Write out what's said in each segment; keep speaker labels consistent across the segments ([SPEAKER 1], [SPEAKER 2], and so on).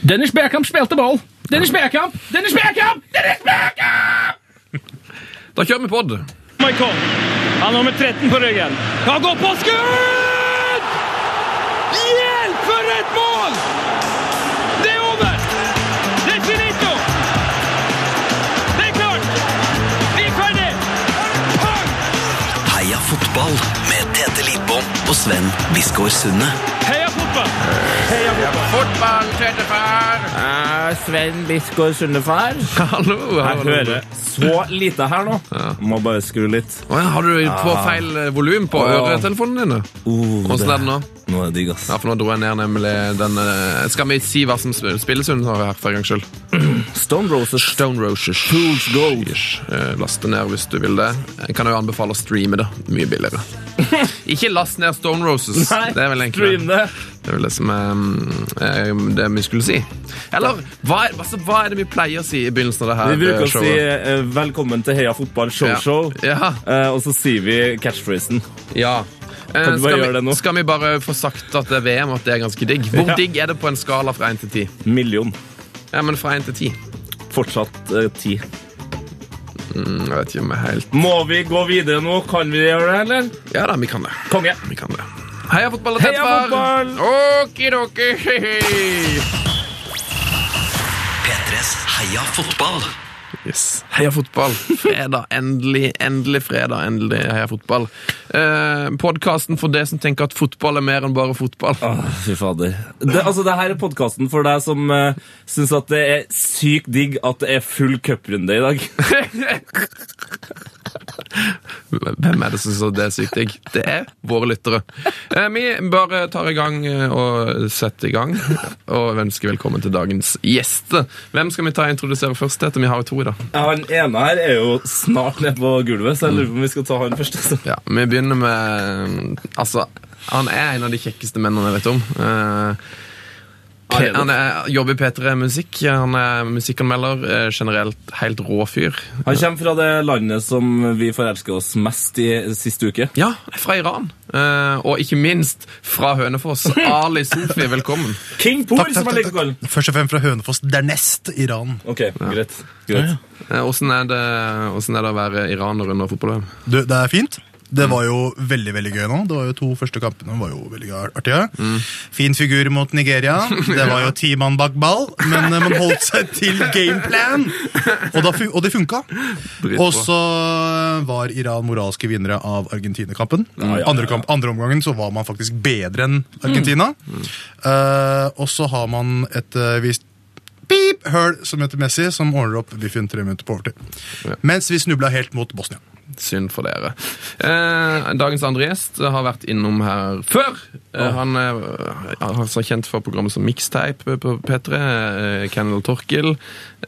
[SPEAKER 1] Dennis Bergkamp spilte ball! Dennis Bergkamp! Dennis Bergkamp! Dennis Bergkamp!
[SPEAKER 2] Da kjører vi pod.
[SPEAKER 3] Maikon. Han har nummer 13 på ryggen. Han går på skudd! Hjelp, for et mål! Det er over! Det er finito! Det er klart! Vi er ferdig! Pang!
[SPEAKER 4] Heia fotball med Tete Lidbom og Sven Biskår Sunde.
[SPEAKER 3] Heia fotball! Heia fotball!
[SPEAKER 2] Fotball, tettefar!
[SPEAKER 5] Eh, Sven Biskår Sundefar.
[SPEAKER 2] Hallo.
[SPEAKER 5] Jeg
[SPEAKER 2] hallo.
[SPEAKER 5] hører så lite her nå. Må bare skru litt.
[SPEAKER 2] Å ja, har du på feil eh, volum på øretelefonene dine?
[SPEAKER 5] Oh,
[SPEAKER 2] Åssen er det nå?
[SPEAKER 5] Nå er det digg, ass.
[SPEAKER 2] Ja, for nå dro jeg ned nemlig den eh, Skal vi si hva som sp- spilles under her for en gangs skyld?
[SPEAKER 5] Stone Roses.
[SPEAKER 2] Stone Roses.
[SPEAKER 5] Fools Gold.
[SPEAKER 2] Ish. Eh, Last det ned hvis du vil det. Jeg kan jo anbefale å streame det. Mye billigere. Ikke last ned Stone Roses. det er vel egentlig
[SPEAKER 5] stream det.
[SPEAKER 2] Det er vel det som er mm, eh, det vi skulle si. Eller hva er, altså, hva er det vi pleier å si i begynnelsen av det her
[SPEAKER 5] Vi bruker
[SPEAKER 2] eh,
[SPEAKER 5] å si eh, 'velkommen til Heia fotball show-show',
[SPEAKER 2] Ja.
[SPEAKER 5] eh, og så sier vi catchphrasen.
[SPEAKER 2] Ja. Eh,
[SPEAKER 5] Kan du bare
[SPEAKER 2] skal,
[SPEAKER 5] gjøre det
[SPEAKER 2] vi,
[SPEAKER 5] nå?
[SPEAKER 2] skal vi bare få sagt at det er VM, og at det er ganske digg? Hvor
[SPEAKER 5] Ja.
[SPEAKER 2] digg er det på en skala fra 1 til 10?
[SPEAKER 5] Million.
[SPEAKER 2] Ja, men fra 1 til 10.
[SPEAKER 5] Fortsatt eh, ti.
[SPEAKER 2] Mm, Jeg vet ikke om jeg er helt
[SPEAKER 5] Må vi gå videre nå? Kan vi gjøre det, eller?
[SPEAKER 2] Ja da, vi kan det.
[SPEAKER 5] Konge.
[SPEAKER 2] Vi kan det. Heia fotball og
[SPEAKER 5] Heia
[SPEAKER 2] tettfar! Okidoki!
[SPEAKER 4] P3s Heia fotball.
[SPEAKER 2] Yes. Heia fotball. Fredag. Endelig, endelig fredag. Endelig heia fotball. Eh, Podkasten for det som tenker at fotball er mer enn bare fotball.
[SPEAKER 5] Åh, fy fader. Det, altså, det her er podkasten for deg som uh, syns at det er sykt digg at det er full cuprunde i dag.
[SPEAKER 2] Hvem er det som syns det er sykt digg? Det er våre lyttere. Eh, vi bare tar i gang eh, og setter i gang, og ønsker velkommen til dagens gjester. Hvem skal vi ta og introdusere først? Tete? Vi har jo to i dag.
[SPEAKER 5] Ja, Han ene her er jo snart nede på gulvet, så jeg lurer på om vi skal ta han først. Altså.
[SPEAKER 2] Ja, Vi begynner med Altså, han er en av de kjekkeste mennene jeg vet om. Eh, P
[SPEAKER 5] Er det?
[SPEAKER 2] han er, jobber i P3 Musikk. Han er musikkanmelder. eh, Generelt helt rå fyr.
[SPEAKER 5] Han kommer fra det landet som vi forelsker oss mest i siste uke.
[SPEAKER 2] Ja, fra Iran. Eh, og ikke minst fra Hønefoss. Ali Sofi, velkommen.
[SPEAKER 5] King Pool, som jeg liker å kalle han.
[SPEAKER 6] Først og fremst fra Hønefoss, dernest Iran.
[SPEAKER 5] Ok, greit. greit.
[SPEAKER 2] Eh, Åssen er, det- hvordan er det å være iraner under fotball-VM?
[SPEAKER 6] Du, det er fint. Det
[SPEAKER 5] Mm.
[SPEAKER 6] var jo veldig veldig gøy nå. Det var jo To første kampene var jo veldig artige.
[SPEAKER 5] Mm.
[SPEAKER 6] Fin figur mot Nigeria. Det var jo ti mann bak ball, men eh, man holdt seg til gameplan! Og, da fun og det funka.
[SPEAKER 2] Dritbra.
[SPEAKER 6] Og så eh, var Iran moralske vinnere av Argentina-kampen.
[SPEAKER 5] ja, ja.
[SPEAKER 6] Andre, kamp- andre omgangen så var man faktisk bedre enn Argentina.
[SPEAKER 5] Mm.
[SPEAKER 6] Eh, og så har man et eh, visst pip høl som heter Messi, som ordner opp Biffen tre minutter på overtid. Mens vi snubla helt mot Bosnia.
[SPEAKER 2] Synd for dere. Eh, dagens andre gjest har vært innom her før. Eh, Han er, er altså kjent for programmet som Mixtape på P3. Eh, Kennel Torkil.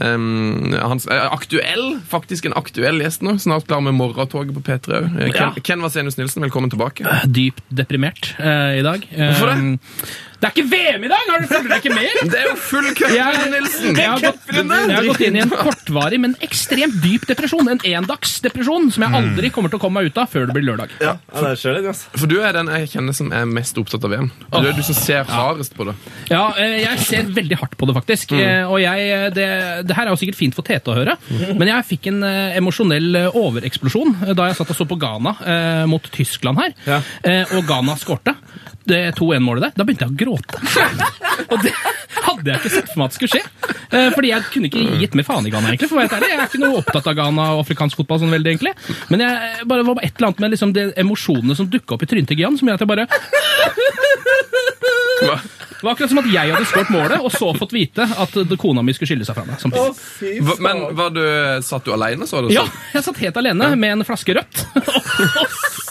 [SPEAKER 2] Um, han er aktuell, faktisk en aktuell gjest nå. Snart klar med morgentoget på P3 òg. Eh, Ken,
[SPEAKER 1] Ja.
[SPEAKER 2] Ken Vasenius Nilsen, velkommen tilbake.
[SPEAKER 1] Dypt deprimert eh, i dag. Eh,
[SPEAKER 2] Hvorfor det?
[SPEAKER 1] Det er ikke VM i dag! Har du følger dere ikke med?
[SPEAKER 2] Det er jo full kødd,
[SPEAKER 1] Jeg-
[SPEAKER 2] Nilsen!
[SPEAKER 1] Jeg har, gått, jeg har gått inn i en kortvarig, men ekstremt dyp depresjon. En endagsdepresjon som jeg aldri kommer til å komme meg ut av før det blir lørdag.
[SPEAKER 5] Ja, ja det skjer litt, altså.
[SPEAKER 2] For du er den jeg kjenner som er mest opptatt av VM. Du er du som ser hardest på det.
[SPEAKER 1] Ja, eh, jeg ser veldig hardt på det, faktisk. Eh, Og jeg, eh, det, det her er jo sikkert fint for Tete å høre, men jeg fikk en eh, emosjonell eh, overeksplosjon eh, da jeg satt og så på Ghana eh, mot Tyskland her,
[SPEAKER 5] Ja.
[SPEAKER 1] eh, og Ghana skårte. Det 2-1-målet der. Da begynte jeg å gråte. og det hadde jeg ikke sett for meg at skulle skje. Eh, fordi jeg kunne ikke gitt mer faen i Ghana, egentlig. For å være helt ærlig. Jeg er ikke noe opptatt av Ghana og afrikansk fotball sånn veldig, egentlig. Men jeg eh, bare det var et eller annet med liksom, de emosjonene som dukka opp i trynet til Gian, som gjør at jeg bare det var akkurat som at jeg hadde skåret målet, og så fått vite at eh, kona mi skulle skille seg fra meg. samtidig.
[SPEAKER 2] Hva- Men var du, satt du aleine, så du?
[SPEAKER 1] Ja, jeg satt helt alene med en flaske rødt. og-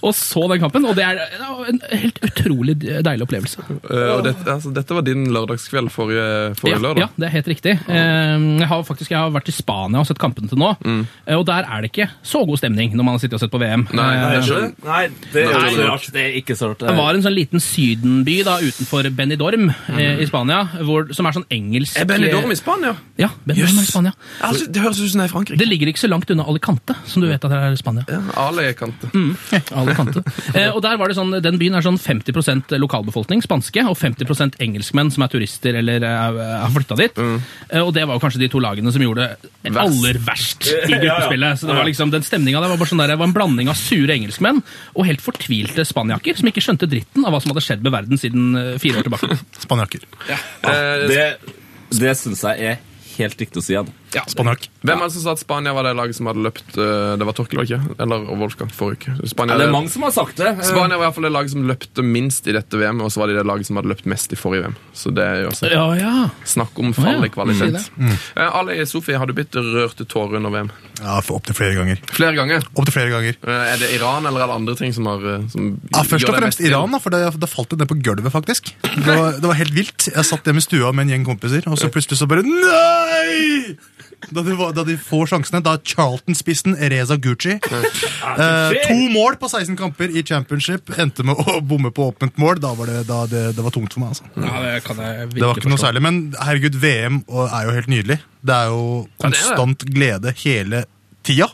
[SPEAKER 1] Og så den kampen, og det er det var en helt utrolig deilig opplevelse.
[SPEAKER 2] Eh, og det, altså, dette var din lørdagskveld forrige, forrige
[SPEAKER 1] Ja,
[SPEAKER 2] lørdag.
[SPEAKER 1] ja, det er helt riktig. Eh, Jeg har faktisk jeg har vært i Spania og sett kampene til nå,
[SPEAKER 2] Mm.
[SPEAKER 1] eh, og der er det ikke så god stemning når man sitter og sett på VM.
[SPEAKER 2] Nei,
[SPEAKER 1] Eh,
[SPEAKER 2] nei, jeg skjønner.
[SPEAKER 5] Nei, det er
[SPEAKER 2] Nei.
[SPEAKER 5] jo så rart. Det er ikke så rart.
[SPEAKER 1] Det var en sånn liten sydenby da, utenfor Benidorm eh, i Spania, hvor, som er sånn engelsk eh,
[SPEAKER 2] Er Mm. Eh, Benidorm i Spania?
[SPEAKER 1] Ja, Benidorm er i Spania.
[SPEAKER 2] Altså, det høres ut som det er i Frankrike.
[SPEAKER 1] Det ligger ikke så langt unna Alicante, som du vet at det er i Spania.
[SPEAKER 2] Ja, Ali-kante.
[SPEAKER 1] Ali Alicante. Eh, og der var det sånn, Den byen er sånn 50 lokalbefolkning, spanske, og 50 engelskmenn som er turister eller eh, har flytta dit. Eh, og det var jo kanskje de to lagene som gjorde det aller verst i gruppespillet. Så det var liksom, den stemninga der var bare sånn der, det var en blanding av sure engelskmenn og helt fortvilte spaniaker som ikke skjønte dritten av hva som hadde skjedd med verden siden eh, fire år tilbake.
[SPEAKER 6] Spanjakker.
[SPEAKER 5] Det, det syns jeg er helt riktig å si. Jan.
[SPEAKER 6] Spanjakk.
[SPEAKER 2] Hvem er det som sa at Spania var det laget som hadde løpt eh, Det var Torkel, var det ikke? Eller Wolfgang forrige uke. Spania,
[SPEAKER 5] Ja, det er mange som har sagt det.
[SPEAKER 2] Spania var i hvert fall det laget som løpte minst i dette VM, og så var de det laget som hadde løpt mest i forrige VM. Så det er jo også
[SPEAKER 1] Ja, ja.
[SPEAKER 2] Snakk om fall
[SPEAKER 1] Å, ja.
[SPEAKER 2] i kvalitet.
[SPEAKER 1] Si
[SPEAKER 2] Eh, Ali Sofie, har du blitt rørt til tårer under VM?
[SPEAKER 6] Ja, Opptil flere ganger.
[SPEAKER 2] Flere ganger.
[SPEAKER 6] Opp til flere ganger.
[SPEAKER 2] Eh, Er det Iran eller er det andre ting som har eh, som
[SPEAKER 6] Ja, Først
[SPEAKER 2] gjør
[SPEAKER 6] og
[SPEAKER 2] deg
[SPEAKER 6] fremst
[SPEAKER 2] mest til?
[SPEAKER 6] Iran, da, for da falt det ned på gulvet, faktisk. Det var, det var helt vilt. Jeg satt hjemme i stua med en gjeng kompiser, og så plutselig så bare Nei! Da de, var, da de får sjansene, da Charlton-spissen Reza Gucci eh, To mål på 16 kamper i championship endte med å bomme på åpent mål. Da var det, da det, det var tungt for meg. altså.
[SPEAKER 1] ja det kan jeg virkelig
[SPEAKER 6] Det var ikke noe
[SPEAKER 1] forstå.
[SPEAKER 6] særlig, men herregud, VM og- er jo helt nydelig. Det er jo
[SPEAKER 2] det er det.
[SPEAKER 6] konstant glede hele tida.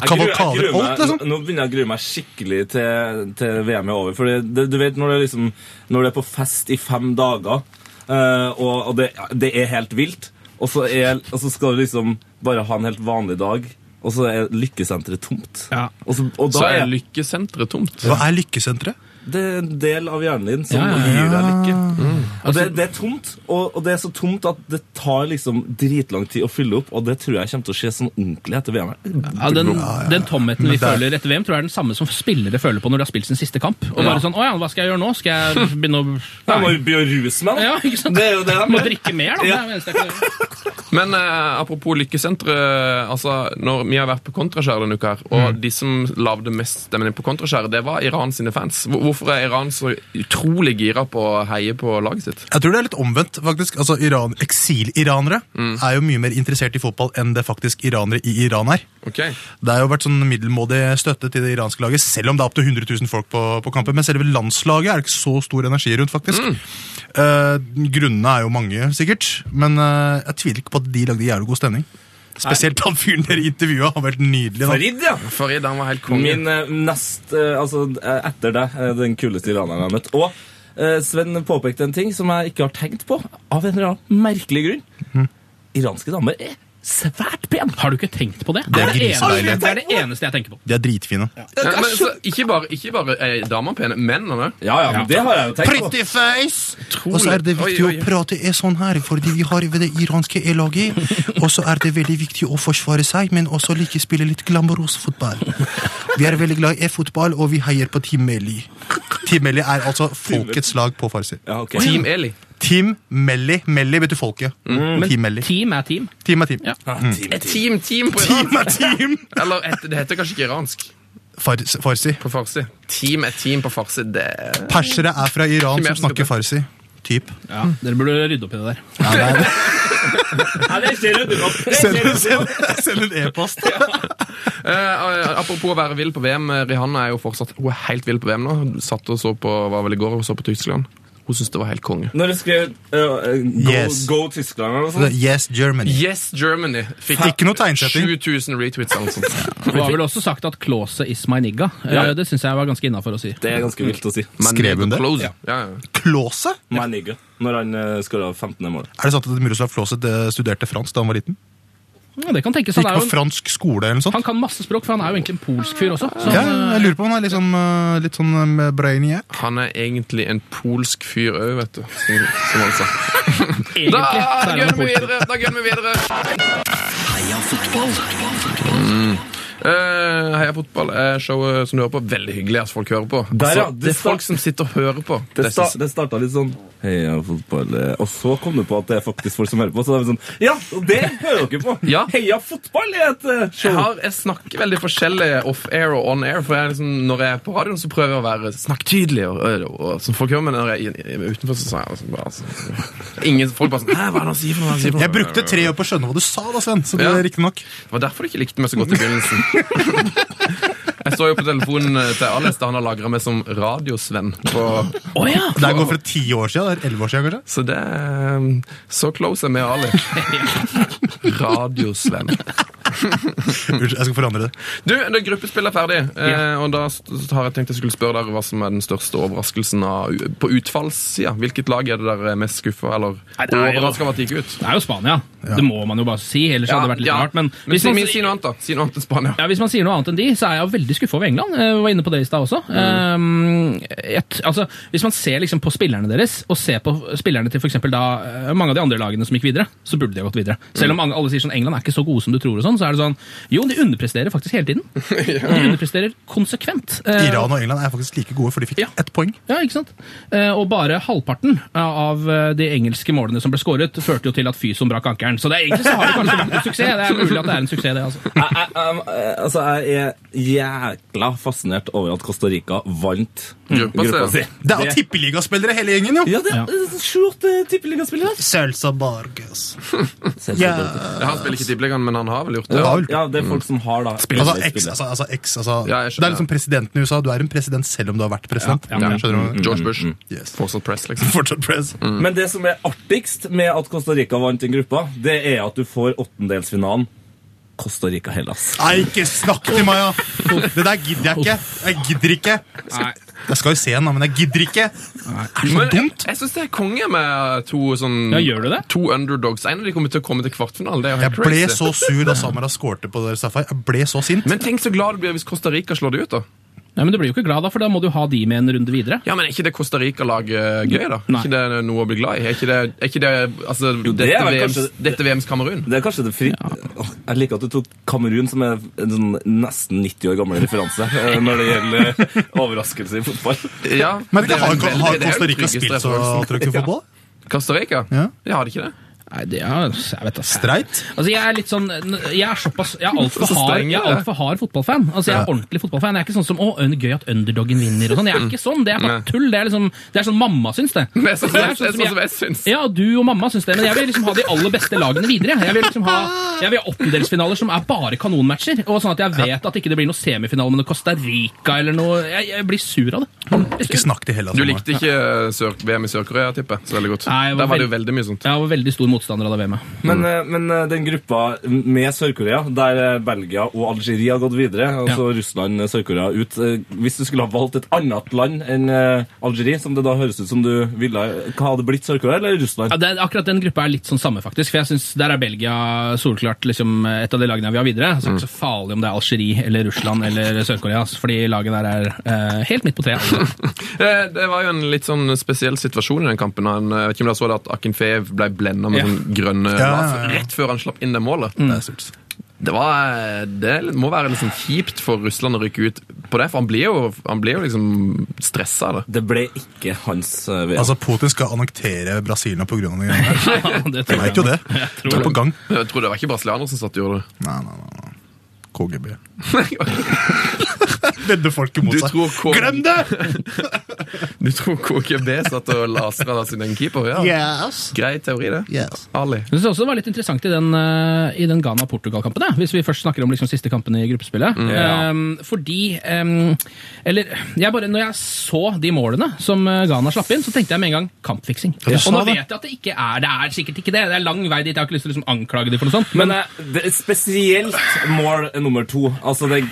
[SPEAKER 6] Kavalkader alt, liksom.
[SPEAKER 5] Nå begynner jeg å grue meg skikkelig til, til VM er over. Fordi det, du vet når det, er liksom, når det er på fest i fem dager, eh, og, og det, det er helt vilt, og så, er, og så skal du liksom bare ha en helt vanlig dag, og så er lykkesenteret tomt.
[SPEAKER 1] Ja.
[SPEAKER 5] Og, så, og
[SPEAKER 2] Så
[SPEAKER 5] da
[SPEAKER 2] er
[SPEAKER 5] er
[SPEAKER 2] lykkesenteret tomt.
[SPEAKER 6] Hva er lykkesenteret?
[SPEAKER 5] det en del av hjernen din som
[SPEAKER 1] Ja, ja, Altså-
[SPEAKER 5] gir deg lykke. Og det, det er tomt, og, og det er så tomt at det tar liksom dritlang tid å fylle opp, og det tror jeg kommer til å skje sånn ordentlig etter VM. her.
[SPEAKER 1] Ja, den, den tomheten vi
[SPEAKER 6] Men det-
[SPEAKER 1] føler etter VM, tror jeg er den samme som spillere føler på når de har spilt sin siste kamp. Og bare sånn, å ja, hva skal jeg gjøre nå? Skal jeg begynne å...
[SPEAKER 5] Jeg må jo begynne å ruse meg, da.
[SPEAKER 1] Ja, ikke sant?
[SPEAKER 5] Det er jo det de
[SPEAKER 1] Må
[SPEAKER 5] gjør.
[SPEAKER 1] drikke mer, da. Det er det eneste jeg kan gjøre.
[SPEAKER 2] Men eh, apropos lykkesenteret altså, når Vi har vært på Kontraskjæret denne uka, her, og de som lagde mest stemning på Kontraskjæret, det var Iran sine fans. Hvor- Hvorfor er Iran så utrolig gira på å heie på laget sitt?
[SPEAKER 6] Jeg tror det er litt omvendt, faktisk. Altså, Iran, Eksiliranere er jo mye mer interessert i fotball enn det faktisk iranere i Iran er.
[SPEAKER 2] Ok,
[SPEAKER 6] Det har jo vært sånn middelmådig støtte til det iranske laget, selv om det er opptil 100 000 folk på, på kampen. Men selve landslaget er det ikke så stor energi rundt, faktisk. Eh, grunnene er jo mange, sikkert, men eh, jeg tviler ikke på at de lagde jævlig god stemning. Spesielt han fyren dere intervjua. Han var helt nydelig. Da.
[SPEAKER 5] Farid, ja.
[SPEAKER 2] Farid han var helt konge.
[SPEAKER 5] Min eh, nest eh, Altså eh, etter deg, eh, den kuleste iraneren jeg har møtt. Og eh, Sven påpekte en ting som jeg ikke har tenkt på, av en eller annen merkelig grunn.
[SPEAKER 6] Mhm.
[SPEAKER 5] Iranske damer er svært pene.
[SPEAKER 1] Har du ikke tenkt på det?
[SPEAKER 6] Det er
[SPEAKER 1] det, eneste,
[SPEAKER 6] grisedeilig.
[SPEAKER 1] det er det eneste jeg tenker på.
[SPEAKER 6] De er dritfine.
[SPEAKER 2] Ja, men, så, ikke bare, ikke bare er damene pene, mennene òg.
[SPEAKER 5] Ja, ja, men det har jeg jo tenkt på.
[SPEAKER 6] Pretty face! Og så er det viktig
[SPEAKER 2] Oi, oi, oi.
[SPEAKER 6] å prate er sånn her, fordi vi har ved det iranske E-laget. Og så er det veldig viktig å forsvare seg, men også like spille litt glamorøs fotball. Vi er veldig glad i e-fotball, og vi heier på Team Melli. Team Melli er altså folkets lag på farsi.
[SPEAKER 5] Ja, ok.
[SPEAKER 2] Team Eli.
[SPEAKER 6] Team Melli. Melli betyr folket. Team Melli.
[SPEAKER 1] Team er team.
[SPEAKER 6] Team er team.
[SPEAKER 2] Et team, team på Iran.
[SPEAKER 6] Team er team!
[SPEAKER 2] Eller et, det heter kanskje ikke iransk
[SPEAKER 6] Fars, farsi.
[SPEAKER 2] på farsi. Team er team på farsi. Det er
[SPEAKER 6] Persere er fra Iran som snakker farsi. Typ.
[SPEAKER 1] Ja, Mm. dere burde rydde opp i det der.
[SPEAKER 5] Nei, det ser ut som- det
[SPEAKER 6] Send,
[SPEAKER 5] ser ut som-
[SPEAKER 6] send, send en e-post.
[SPEAKER 2] Eh, apropos å være vill på VM. eh, Rihanna er jo fortsatt hun er helt vill på VM nå. Hun Satt og så på, var vel i går og så på Tyskland. Hun syntes det var helt konge.
[SPEAKER 5] Når du skrev eh, eh, go,
[SPEAKER 6] Yes.
[SPEAKER 5] go Tyskland eller noe sånt
[SPEAKER 6] Yes, Germany.
[SPEAKER 2] Yes, Germany fikk
[SPEAKER 6] Ikke noe tegnsetting.
[SPEAKER 2] 7000 retweets eller noe sånt.
[SPEAKER 1] Du har vel også sagt at klåse is my nigga.
[SPEAKER 5] Ja.
[SPEAKER 1] Eh, Det syns jeg var ganske innafor å si.
[SPEAKER 5] Det er ganske vilt å si.
[SPEAKER 2] Men
[SPEAKER 6] Skrev hun det?
[SPEAKER 2] close. Ja, ja.
[SPEAKER 6] Klåse?
[SPEAKER 5] My nigga. Når han uh, skåra 15. mål.
[SPEAKER 6] Er det sant at Miroslav Flåset eh, studerte fransk da han var liten?
[SPEAKER 1] Ja, det kan tenkes. Han,
[SPEAKER 6] Gikk
[SPEAKER 1] er
[SPEAKER 6] på
[SPEAKER 1] jo en,
[SPEAKER 6] fransk skole eller noe sånt?
[SPEAKER 1] han kan masse språk, for han er jo egentlig en polsk fyr også. Så
[SPEAKER 6] Ja,
[SPEAKER 1] han, eh,
[SPEAKER 6] jeg lurer på om han er liksom, eh, litt sånn eh, brainiac.
[SPEAKER 2] Han er egentlig en polsk fyr òg, vet du. Som, som han sa.
[SPEAKER 1] egentlig
[SPEAKER 2] Da
[SPEAKER 1] så er han
[SPEAKER 2] gønner
[SPEAKER 1] en
[SPEAKER 2] vi
[SPEAKER 1] polsk.
[SPEAKER 2] videre! Da gønner vi videre.
[SPEAKER 4] Heia fotball.
[SPEAKER 2] Eh, Heia fotball er showet som du hører på. Veldig hyggelig at folk hører på. Altså,
[SPEAKER 5] Der, ja.
[SPEAKER 2] det,
[SPEAKER 5] Det
[SPEAKER 2] er folk
[SPEAKER 5] sta-
[SPEAKER 2] som sitter og hører på.
[SPEAKER 5] Det, sta,
[SPEAKER 2] synes-
[SPEAKER 5] det starta litt sånn Heia fotball eh», Og så kom du på at det er faktisk folk som hører på. Så da er vi sånn Ja, og det hører dere på!
[SPEAKER 2] Ja.
[SPEAKER 5] Heia fotball er et eh,
[SPEAKER 2] jeg,
[SPEAKER 5] show!
[SPEAKER 2] har, jeg snakker veldig forskjellig off-air og on-air. For jeg er liksom, Når jeg er på radioen, så prøver jeg å være snakketydelig. Og, og, og, som folk gjør, men når jeg er i- i- utenfor, så sier jeg altså, bare, altså, ingen, Folk bare sånn Hæ, hva er det han sier for noe? Hva er det han sier for noe?
[SPEAKER 6] Jeg brukte tre år på å skjønne hva du sa, da, Sven. Så det
[SPEAKER 2] Ja.
[SPEAKER 6] er riktig nok.
[SPEAKER 2] Det var derfor du ikke likte meg så godt i begynnelsen. Jeg så jo på telefonen eh, til Alex da han har lagra meg som radiosvenn. på-
[SPEAKER 1] Å ja!
[SPEAKER 6] Det her går fra ti år siden. Det er elleve år siden, kanskje.
[SPEAKER 2] Så eh, det er, um, Så close er vi, Ali. Radiosvenn.
[SPEAKER 6] Unnskyld, jeg skal forandre det.
[SPEAKER 2] Du, det er gruppespill er ferdig, eh, og da s- s- har jeg tenkt jeg skulle spørre dere hva som er den største overraskelsen av, u- på utfallssida. Hvilket lag er det dere er mest skuffa eller
[SPEAKER 1] Nei, det er jo-
[SPEAKER 2] overraska over at det gikk ut?
[SPEAKER 1] Det er jo Spania. Det må man jo bare si, ellers hadde det vært litt
[SPEAKER 2] ja.
[SPEAKER 1] rart. Men,
[SPEAKER 2] men
[SPEAKER 1] hvis
[SPEAKER 2] si,
[SPEAKER 1] man,
[SPEAKER 2] men si noe annet, da. Si noe annet enn Spania.
[SPEAKER 1] ja, hvis man sier noe annet enn de, så er jeg jo veldig skuffa over England. Jeg var inne på det i stad også. Um, et, altså, hvis man ser liksom på spillerne deres, og ser på spillerne til f.eks. da eh, mange av de andre lagene som gikk videre, så burde de ha gått videre. Selv om mange, alle sier sånn England er ikke så gode som du tror, og sånn, så er det sånn Jo, de underpresterer faktisk hele tiden. De underpresterer konsekvent. Eh,
[SPEAKER 6] Iran og England er faktisk like gode, for de fikk
[SPEAKER 1] Ja.
[SPEAKER 6] ett poeng.
[SPEAKER 1] Ja, ikke sant? Eh, Og bare halvparten av eh, de engelske målene som ble skåret, førte jo til at Fyson brakk ankeren. Så det er egentlig så har det kanskje vært en suksess. Det er mulig at det er en suksess, det, altså.
[SPEAKER 5] jeg, jeg, jeg, altså, jeg er jækla fascinert over at Costa Rica vant
[SPEAKER 2] Gruppa si.
[SPEAKER 6] Det er jo tippeligaspillere hele gjengen, jo!
[SPEAKER 5] Ja, det er eh, sju-åtte tippeligaspillere.
[SPEAKER 6] Selsa Barges.
[SPEAKER 5] der.
[SPEAKER 6] Ja.
[SPEAKER 2] Ja, han spiller ikke Tippeligaen, men han har vel gjort det.
[SPEAKER 6] Ja, vel.
[SPEAKER 5] Ja, det er folk som har da
[SPEAKER 6] Altså, ex, altså, altså, ex, altså.
[SPEAKER 2] Ja, jeg skjønner.
[SPEAKER 6] det er liksom presidenten i USA. Du er en president selv om du har vært president.
[SPEAKER 1] Ja, ja, ja.
[SPEAKER 6] Skjønner du?
[SPEAKER 2] George Bush.
[SPEAKER 6] Yes.
[SPEAKER 2] mm, Fortsatt press, liksom.
[SPEAKER 6] Fortsatt pres.
[SPEAKER 5] Men det som er artigst med at Costa Rica vant den gruppa, det er at du får åttendelsfinalen Costa Rica-Hellas.
[SPEAKER 6] Nei, ikke snakk til meg, ja! Det der gidder jeg ikke. Jeg gidder ikke.
[SPEAKER 1] Nei.
[SPEAKER 6] Jeg skal jo se den, da, men jeg gidder ikke. Det er så
[SPEAKER 2] Men jeg,
[SPEAKER 6] dumt.
[SPEAKER 2] jeg syns det er konge med to sånn
[SPEAKER 1] Ja, gjør du det?
[SPEAKER 2] To underdogs. En av de kommer til å komme til kvartfinalen. Det er jo
[SPEAKER 6] Jeg
[SPEAKER 2] helt
[SPEAKER 6] ble
[SPEAKER 2] crazy.
[SPEAKER 6] så sur da Samara skårte på det Safari. Jeg ble så sint.
[SPEAKER 2] Men tenk så glad du blir hvis Costa Rica slår det ut, da.
[SPEAKER 1] Nei, men du blir jo ikke glad da, for da må du ha de med en runde videre.
[SPEAKER 2] Ja, men Er ikke det Costa Rica-laget gøy, da? Er
[SPEAKER 1] Nei.
[SPEAKER 2] ikke det noe å bli glad i? Er ikke det, er ikke det altså,
[SPEAKER 5] det
[SPEAKER 2] dette,
[SPEAKER 5] er vel
[SPEAKER 2] VMs,
[SPEAKER 5] kanskje-
[SPEAKER 2] dette VMs Kamerun?
[SPEAKER 5] Det er kanskje det fritt Åh, Jeg liker at du tok Kamerun, som er en sånn nesten 90 år gammel referanse eh, når det gjelder overraskelse i fotball.
[SPEAKER 2] Ja,
[SPEAKER 6] Men
[SPEAKER 2] det er
[SPEAKER 6] har,
[SPEAKER 2] vel-
[SPEAKER 6] har, har
[SPEAKER 2] det er
[SPEAKER 6] Costa
[SPEAKER 2] den
[SPEAKER 6] Rica
[SPEAKER 2] tryggeste
[SPEAKER 6] spilt så
[SPEAKER 2] referansen.
[SPEAKER 6] attraktiv fotball?
[SPEAKER 2] Costa Rica?
[SPEAKER 6] Ja.
[SPEAKER 2] De har de ikke det.
[SPEAKER 1] Nei, det er, jeg vet da. faen.
[SPEAKER 6] Streit?
[SPEAKER 1] Altså, jeg er litt sånn Jeg er såpass Jeg er altfor
[SPEAKER 2] Så
[SPEAKER 1] hard,
[SPEAKER 2] streng,
[SPEAKER 1] jeg er
[SPEAKER 2] ja.
[SPEAKER 1] alt for hard fotballfan. Altså, jeg er ordentlig fotballfan. Jeg er ikke sånn som 'Å, øn- gøy at underdogen vinner' og sånn. Jeg er ikke sånn. Det er
[SPEAKER 2] Mm. Nei.
[SPEAKER 1] bare tull. Det er liksom Det er sånn mamma syns det.
[SPEAKER 2] Det er sånn,
[SPEAKER 1] Det er sånn
[SPEAKER 2] sånn,
[SPEAKER 1] som jeg-
[SPEAKER 2] som jeg syns.
[SPEAKER 1] Ja, du og mamma syns det, men jeg vil liksom ha de aller beste lagene videre. Jeg vil liksom ha, jeg vil ha åttendelsfinaler som er bare kanonmatcher, og sånn at jeg vet at ikke det blir noe semifinale med noe Costa Rica eller noe Jeg, jeg blir sur av det. Ordentlig
[SPEAKER 6] Ikke
[SPEAKER 1] sur.
[SPEAKER 6] snakk til Hellas.
[SPEAKER 2] Du
[SPEAKER 6] Samara.
[SPEAKER 2] likte ikke eh, Sør VM i Sør-Korea, tipper jeg. Så veldig godt.
[SPEAKER 1] Nei, det var
[SPEAKER 2] Der var det jo
[SPEAKER 1] veld-
[SPEAKER 2] veldig mye sånt.
[SPEAKER 1] Jeg var veldig stor motstander av det VM-et.
[SPEAKER 5] Men, eh, men eh, den gruppa med Sør-Korea, der eh, Belgia og Algerie har gått videre, altså Russland, eh, Sør-Korea ut eh, Hvis du skulle ha valgt et annet land enn eh, Algerie, som det da høres ut som du ville Hva hadde blitt Sør-Korea eller Russland?
[SPEAKER 1] Ja, det, er- akkurat den gruppa er litt sånn samme, faktisk. For jeg synes Der er Belgia solklart liksom, et av de lagene jeg vil ha videre. Så det er ikke så farlig om det er Algerie eller Russland eller Sør-Korea, ass, fordi laget der er eh, helt midt på treet. altså.
[SPEAKER 2] Eh, Det var jo en litt sånn spesiell situasjon i den kampen. Han, eh, vet ikke om dere så det at Akinfeev ble blenda med
[SPEAKER 1] Ja.
[SPEAKER 2] sånn grønne
[SPEAKER 6] ja,
[SPEAKER 2] laser
[SPEAKER 6] ja.
[SPEAKER 2] rett før han slapp inn det
[SPEAKER 1] Mm.
[SPEAKER 2] målet.
[SPEAKER 6] Det er surt.
[SPEAKER 2] Det, var, eh, det må være liksom kjipt for Russland å rykke ut på det, for han blir jo, han blir jo liksom stressa av det.
[SPEAKER 5] Det ble ikke hans eh, VM.
[SPEAKER 6] Altså, Putin skal annektere Brasil nå på grunn av det greiene der.
[SPEAKER 1] det tror
[SPEAKER 6] Jeg vet jo det. Det er på gang.
[SPEAKER 2] Men Jeg tror det var ikke brasilianere som satt og gjorde det.
[SPEAKER 6] Nei, nei, nei. nei. KGB. Vedder folket mot
[SPEAKER 2] Du
[SPEAKER 6] seg.
[SPEAKER 2] tror K-
[SPEAKER 6] Glem det!
[SPEAKER 2] Du tror KKB satt og lasra av sin egen keeper? Ja.
[SPEAKER 6] Yes.
[SPEAKER 2] Grei teori, det.
[SPEAKER 6] Yes.
[SPEAKER 2] Ali.
[SPEAKER 1] Jeg synes også det var litt interessant i den, eh, i den Ghana-Portugal-kampen, da, hvis vi først snakker om liksom, siste kampen i gruppespillet.
[SPEAKER 6] Mm.
[SPEAKER 1] Ehm, fordi ehm, Eller jeg bare, når jeg så de målene som eh, Ghana slapp inn, så tenkte jeg med en gang kampfiksing.
[SPEAKER 6] Ja, du
[SPEAKER 1] Og
[SPEAKER 6] sa
[SPEAKER 1] nå
[SPEAKER 6] det.
[SPEAKER 1] vet jeg at det ikke er det. er sikkert ikke det. Det er lang vei dit. Jeg har ikke lyst til å liksom, anklage dem for noe sånt.
[SPEAKER 5] Men
[SPEAKER 1] Men
[SPEAKER 5] eh, det er spesielt mål nummer to. Altså, det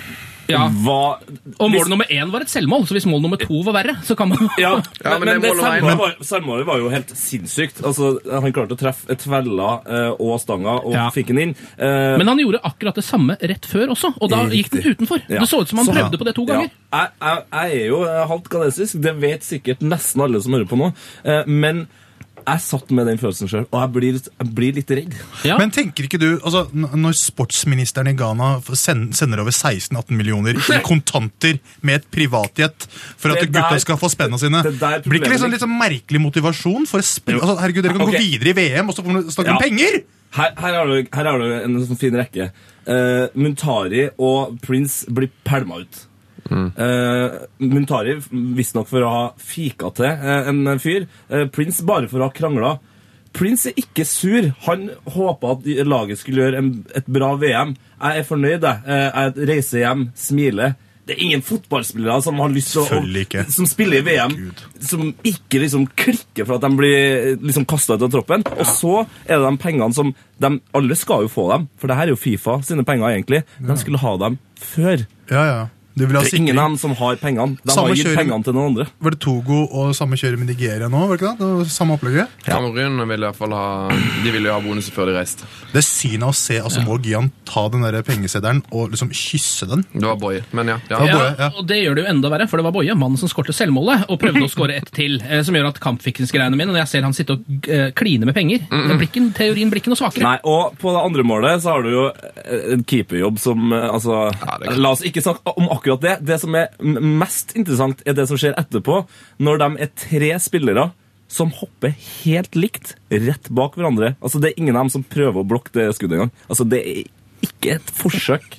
[SPEAKER 1] Ja.
[SPEAKER 5] var
[SPEAKER 1] Og mål
[SPEAKER 5] Hvis-
[SPEAKER 1] nummer én var et selvmål, så hvis mål nummer to var verre, så kan man
[SPEAKER 5] Ja,
[SPEAKER 2] Ja, men
[SPEAKER 5] men, men
[SPEAKER 2] det
[SPEAKER 5] det
[SPEAKER 2] målet var
[SPEAKER 5] selvmålet
[SPEAKER 2] en-
[SPEAKER 5] var, selvmålet var jo helt sinnssykt. Altså, Han klarte å treffe tvella eh, og stanga og
[SPEAKER 1] Ja.
[SPEAKER 5] fikk den inn. Eh,
[SPEAKER 1] Men han gjorde akkurat det samme rett før også, og da gikk den utenfor.
[SPEAKER 5] Ja.
[SPEAKER 1] Det så ut som han
[SPEAKER 5] Så-
[SPEAKER 1] prøvde på det to
[SPEAKER 5] Eh, ja.
[SPEAKER 1] ganger.
[SPEAKER 5] Jeg, jeg, jeg er jo eh, halvt kanadisk, det vet sikkert nesten alle som hører på nå. Eh, men jeg satt med den følelsen sjøl, og jeg blir, jeg blir litt redd.
[SPEAKER 1] Ja.
[SPEAKER 6] Men tenker ikke du, altså, n- når sportsministeren i Ghana f- send- sender over 16-18 millioner i kontanter med et privatjet for at
[SPEAKER 5] Det der-
[SPEAKER 6] gutta skal få spenna sine,
[SPEAKER 5] det der
[SPEAKER 6] blir ikke det
[SPEAKER 5] problemet-
[SPEAKER 6] sånn litt sånn merkelig motivasjon for å spille? Altså, herregud, dere kan
[SPEAKER 5] Ok.
[SPEAKER 6] gå videre i VM, og så får dere snakke
[SPEAKER 5] Ja.
[SPEAKER 6] om penger!
[SPEAKER 5] Her, her, har du, her har du en sånn fin rekke. Eh, Muntari og Prince blir pælma ut. Eh, Muntari visstnok for å ha fika til eh, en fyr. Eh, Prince bare for å ha krangla. Prince er ikke sur. Han håpa at laget skulle gjøre en, et bra VM. Jeg er fornøyd, jeg. Eh, jeg reiser hjem, smiler. det er ingen fotballspillere som har lyst til
[SPEAKER 6] Selvfølgelig
[SPEAKER 5] å
[SPEAKER 6] ikke.
[SPEAKER 5] Som spiller i VM,
[SPEAKER 6] Gud.
[SPEAKER 5] som ikke liksom klikker for at de blir liksom kasta ut av troppen. Og så er det de pengene som de, Alle skal jo få dem, for det her er jo Fifa sine penger, egentlig. De skulle ha dem før.
[SPEAKER 6] Ja, ja. De vil ha
[SPEAKER 5] Det er ingen
[SPEAKER 6] sikring.
[SPEAKER 5] av dem som har pengene. De
[SPEAKER 6] Samme
[SPEAKER 5] har gitt
[SPEAKER 6] kjøring.
[SPEAKER 5] pengene til noen andre.
[SPEAKER 6] Var det Togo og samme kjøret med Nigeria nå? var det ikke det? det var samme opplegget?
[SPEAKER 2] Kamerun ville i hvert fall ha De ville jo ha bonus før de reiste.
[SPEAKER 6] Det er synet å se altså, Må Gian ta den der pengeseddelen og liksom kysse den.
[SPEAKER 2] Det var Boje. Men ja. ja.
[SPEAKER 6] Det var
[SPEAKER 2] ja.
[SPEAKER 6] Boje, ja.
[SPEAKER 1] Og det gjør det jo enda verre, for det var Boje, mannen som skårte selvmålet, og prøvde å skåre ett til, eh, som gjør at kampfiksgreiene mine, når jeg ser han sitte og eh, kline med penger, blir ikke- teorien blir ikke noe svakere.
[SPEAKER 5] Nei, og på det andre målet så har du jo eh, en keeperjobb som eh, altså,
[SPEAKER 2] det er klart.
[SPEAKER 5] La oss ikke snakke om akkurat det. Det som er m- mest interessant, er det som skjer etterpå, når de er tre spillere som hopper helt likt rett bak hverandre. Altså, Det er ingen av dem som prøver å blokke det skuddet engang. Altså, det er ikke et forsøk.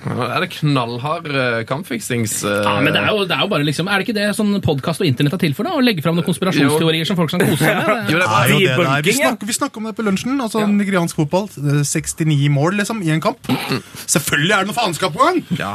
[SPEAKER 2] Nå Er det knallhard eh, kampfiksings... eh,
[SPEAKER 1] Ja, men det er, jo, det er jo bare liksom, er det ikke det sånn podkast og internett er til for? da? Å legge fram noen konspirasjonsteorier som folk kan kose seg med? Det.
[SPEAKER 2] Jo, det er
[SPEAKER 6] Det
[SPEAKER 2] bra.
[SPEAKER 6] er jo det det er. Vi
[SPEAKER 5] Debunking, ja.
[SPEAKER 6] snakker, vi snakker om det på lunsjen. altså Nigeriansk fotball. det er 69 mål liksom, i en kamp. Selvfølgelig er det noe faenskap på gang!
[SPEAKER 2] Ja.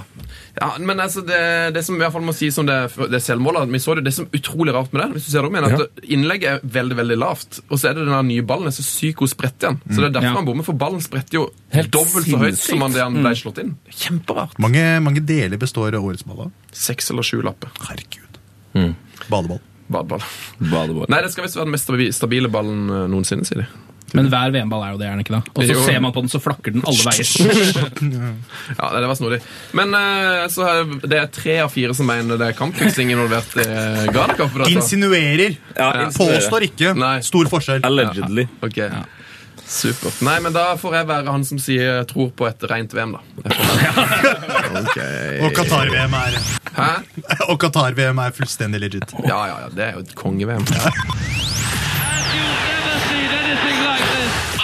[SPEAKER 2] ja, men altså det, det som i hvert fall må sies om det, det selvmålet Vi så det, det som er utrolig rart med det Hvis du ser det om igjen, at innlegget er veldig, veldig lavt Og så er det den der nye ballen er så syk og spredt igjen Så det er derfor
[SPEAKER 1] Ja.
[SPEAKER 2] han bommer, for ballen spretter jo
[SPEAKER 5] Mm. Helt
[SPEAKER 2] dobbelt så høyt
[SPEAKER 5] sinnssykt.
[SPEAKER 2] Som han det han ble slått inn Kjemperart
[SPEAKER 6] Mange, mange deler består av årets ball av.
[SPEAKER 2] Seks eller sju lapper
[SPEAKER 6] Herregud. Badeball.
[SPEAKER 2] Badball
[SPEAKER 5] Badeball.
[SPEAKER 2] Nei, det skal visst være den mest stabi- stabile ballen eh, noensinne, sier de
[SPEAKER 1] Men hver VM-ball er jo det, er den ikke da? Og så
[SPEAKER 2] Jo.
[SPEAKER 1] ser man på den, så flakker den alle veier.
[SPEAKER 2] Ja, det, det var snodig Men eh, så er det er tre av fire som mener det er kampfiksing Involvert i eh, Ghana-kampen altså.
[SPEAKER 6] Insinuerer.
[SPEAKER 5] Ja,
[SPEAKER 6] Påstår ikke.
[SPEAKER 2] Nei.
[SPEAKER 6] Stor forskjell.
[SPEAKER 5] Allegedly.
[SPEAKER 2] Ok, supert. Nei, men da får jeg være han som sier tror på et rent VM, da.
[SPEAKER 6] Og Qatar-VM er
[SPEAKER 2] Hæ?
[SPEAKER 6] Og Qatar-VM er fullstendig legit.
[SPEAKER 2] Ja, ja, ja, det er jo et konge-VM.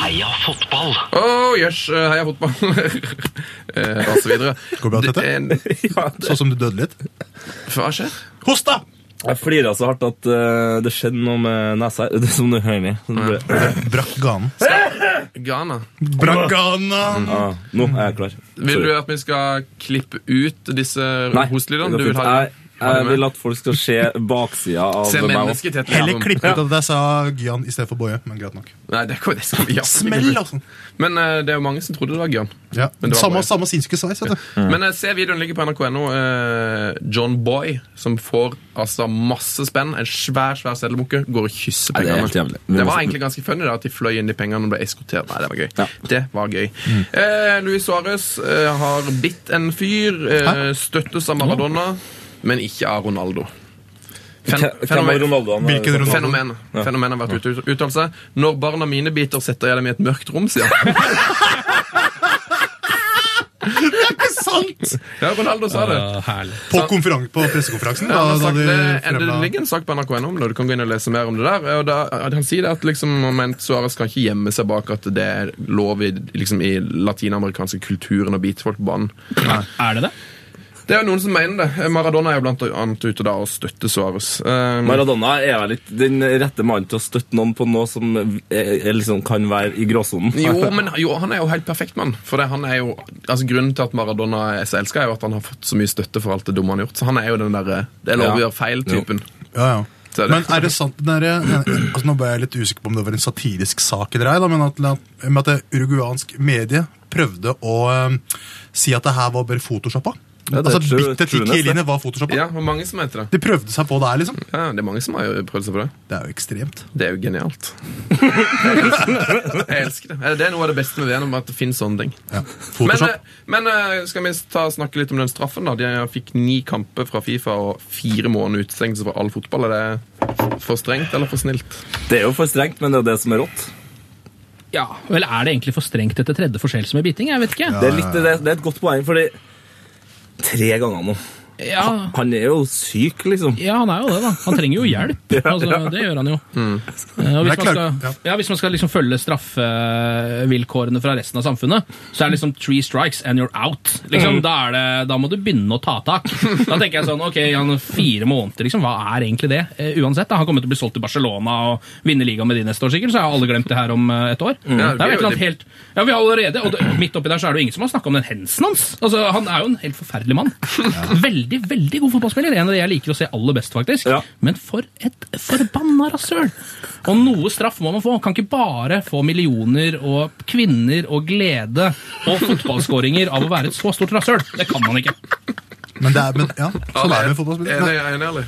[SPEAKER 4] Heia fotball.
[SPEAKER 2] Oh, jøss, eh, heia fotball. eh, og så videre.
[SPEAKER 6] Går det bra, Tete?
[SPEAKER 2] Det er-
[SPEAKER 5] Ja, det-
[SPEAKER 6] Sånn som du døde litt.
[SPEAKER 2] Hva skjer?
[SPEAKER 6] Hosta!
[SPEAKER 5] Jeg flira så hardt at eh, det skjedde noe med nesa her. Det er som du hører ned. Sånn ble-
[SPEAKER 6] Brakk ganen.
[SPEAKER 2] Ghana.
[SPEAKER 6] Brakk
[SPEAKER 2] Mm.
[SPEAKER 6] ganen!
[SPEAKER 5] Ah, nå er jeg klar. Sorry.
[SPEAKER 2] Vil du at vi skal klippe ut disse hostlydene?
[SPEAKER 5] det
[SPEAKER 2] Du
[SPEAKER 5] går
[SPEAKER 2] vil
[SPEAKER 5] fint.
[SPEAKER 2] ha
[SPEAKER 5] jeg, jeg vil at folk skal se baksida av
[SPEAKER 2] Se
[SPEAKER 5] meg også.
[SPEAKER 2] mennesket i Tete.
[SPEAKER 6] Heller klipp ut at jeg sa Gyan istedenfor Boje, men greit nok.
[SPEAKER 2] Nei, det, det skal vi gjøre.
[SPEAKER 6] Smell, altså!
[SPEAKER 2] Men eh, det er jo mange som trodde det var Ghana.
[SPEAKER 6] Ja.
[SPEAKER 2] Men det var
[SPEAKER 6] Samme,
[SPEAKER 2] Boje.
[SPEAKER 6] samme sinnssyke sveis, vet
[SPEAKER 5] Mm.
[SPEAKER 6] du.
[SPEAKER 2] Men eh, se videoen ligger på nrk.no. eh, John Boy, som får altså masse spenn, en svær svær seddelbukke, går og kysser
[SPEAKER 5] Nei, det er
[SPEAKER 2] pengene.
[SPEAKER 5] helt jævlig. Vi
[SPEAKER 2] det
[SPEAKER 5] må-
[SPEAKER 2] var egentlig ganske funny da, at de fløy inn de pengene og ble eskortert. Nei, det var gøy.
[SPEAKER 5] Ja. Mm.
[SPEAKER 2] Det var gøy. Eh, Luis Suárez eh, har bitt en fyr, eh, støttes av Maradona, men ikke av Ronaldo. Fen
[SPEAKER 5] Hvem- Hvem var Ronaldo? han?
[SPEAKER 6] Hvilken Ronaldo?
[SPEAKER 2] Fenomen. Fenomen har vært ute ut- uttalt seg. Når barna mine biter, setter jeg dem i et mørkt rom, sier han.
[SPEAKER 6] Sant!
[SPEAKER 2] Ja, Ronaldo sa det.
[SPEAKER 1] Ja, herlig.
[SPEAKER 6] På, konferan- på pressekonferansen.
[SPEAKER 2] Ja, han
[SPEAKER 6] Da,
[SPEAKER 2] har
[SPEAKER 6] da
[SPEAKER 2] sagt
[SPEAKER 6] de
[SPEAKER 2] det, det
[SPEAKER 6] fremla
[SPEAKER 2] ligger en sak på NRK.no om det, du kan gå inn og lese mer om det der. Og da, at han sier det at liksom, moment, Suárez kan ikke gjemme seg bak at det er lov i, liksom, i latinamerikanske kulturen å bite folk på banen.
[SPEAKER 1] Er det det?
[SPEAKER 2] Det er jo noen som mener det. Maradona er jo blant annet ute da og støtter Suárez. Um,
[SPEAKER 5] Maradona er vel ikke den rette mannen til å støtte noen på noe som er, er liksom kan være i gråsonen.
[SPEAKER 2] jo, men jo, han er jo helt perfekt mann. For det, han er jo, altså Grunnen til at Maradona er så elska, er jo at han har fått så mye støtte for alt det dumme han har gjort. Så han er jo den derre det er lov å
[SPEAKER 5] Ja.
[SPEAKER 2] gjøre feil-typen.
[SPEAKER 6] Ja, ja.
[SPEAKER 2] Så er det-
[SPEAKER 6] Men er det sant den der, altså Nå ble jeg litt usikker på om det var en satirisk sak, eller ei, da, men at, med at det uruguansk medie prøvde å eh, si at det her var bare photoshoppa.
[SPEAKER 5] Ja, det
[SPEAKER 6] altså
[SPEAKER 5] tror-
[SPEAKER 6] Bittet
[SPEAKER 5] tror
[SPEAKER 6] til
[SPEAKER 5] nesten.
[SPEAKER 6] Kieline var photoshoppa.
[SPEAKER 2] Ja, og mange som heter det.
[SPEAKER 6] De prøvde seg på det her, liksom.
[SPEAKER 2] Ja, det er mange som har jo prøvd seg på det.
[SPEAKER 6] Det er jo ekstremt.
[SPEAKER 2] Det er jo genialt. Jeg elsker det. Det er noe av det beste med VM, at det finnes sånne ting.
[SPEAKER 6] Ja.
[SPEAKER 2] Men,
[SPEAKER 6] Photoshop.
[SPEAKER 2] eh, men eh, skal vi ta, snakke litt om den straffen? da? De fikk ni kamper fra Fifa og fire måneder utestengelse fra all fotball. Er det for strengt eller for snilt?
[SPEAKER 5] Det er jo for strengt, men det er jo det som er rått.
[SPEAKER 1] Ja, vel er det egentlig for strengt etter tredje forseelse med biting? Jeg vet ikke.
[SPEAKER 5] Det er, litt, det, er- det er et godt poeng, fordi Tre ganger nå.
[SPEAKER 1] Ja,
[SPEAKER 5] Han er jo syk, liksom.
[SPEAKER 1] ja, han er jo det, da. Han trenger jo hjelp. Altså, det gjør han jo. Eh, Og
[SPEAKER 6] Det er
[SPEAKER 1] hvis man
[SPEAKER 6] klart, ja.
[SPEAKER 1] skal, ja, hvis man skal liksom følge straffevilkårene fra resten av samfunnet, så er det liksom three strikes and you're out. Liksom, da, er det, da må du begynne å ta tak. Da tenker jeg sånn, ok, han har fire måneder, liksom, hva er egentlig det? Eh, uansett, da, han kommer til å bli solgt til Barcelona og vinne ligaen med de neste år sikkert, så har alle glemt det her om eh, et år.
[SPEAKER 2] Ja, det
[SPEAKER 1] det er jo et
[SPEAKER 2] blir
[SPEAKER 1] eller
[SPEAKER 2] jo-
[SPEAKER 1] annet helt... Ja, vi har allerede, og det, midt oppi der så er det jo ingen som har snakket om den hensen hans. Altså, han er jo en helt forferdelig mann. Veldig, veldig god fotballspiller, en av de jeg liker å se aller best, faktisk.
[SPEAKER 5] Ja.
[SPEAKER 1] Men for et forbanna rasshøl! Og noe straff må man få. Kan ikke bare få millioner og kvinner og glede og fotballskåringer av å være et så stort rasshøl. Det kan man ikke.
[SPEAKER 6] Men det er, men, ja, sånn er det med fotballspillere.
[SPEAKER 2] Enig, enig, ærlig.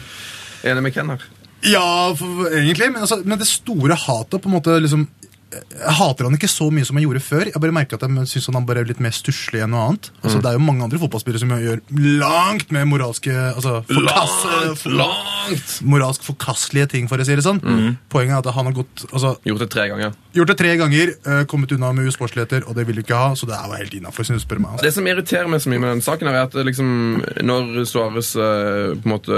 [SPEAKER 2] Enig med Ken her.
[SPEAKER 6] Ja, for, egentlig. Men, altså, men det store hatet på en måte liksom jeg hater han ikke så mye som jeg gjorde før. Jeg bare merker at jeg synes han er bare litt mer stusslig enn noe annet.
[SPEAKER 2] Mm.
[SPEAKER 6] Altså, Det er jo mange andre fotballspillere som gjør langt mer moralske altså, forkast,
[SPEAKER 2] langt!
[SPEAKER 6] moralsk forkastelige ting, for å si det sånn.
[SPEAKER 2] Mm.
[SPEAKER 6] Poenget er at han har gått, altså,
[SPEAKER 2] Gjort det tre ganger.
[SPEAKER 6] gjort det tre ganger, eh, kommet unna med usportsligheter, og det vil du ikke ha, så det er jo helt innafor, hvis du spør meg. Altså.
[SPEAKER 2] Det som irriterer meg så mye med den saken, her, er at eh, liksom, når Suárez eh, på en måte,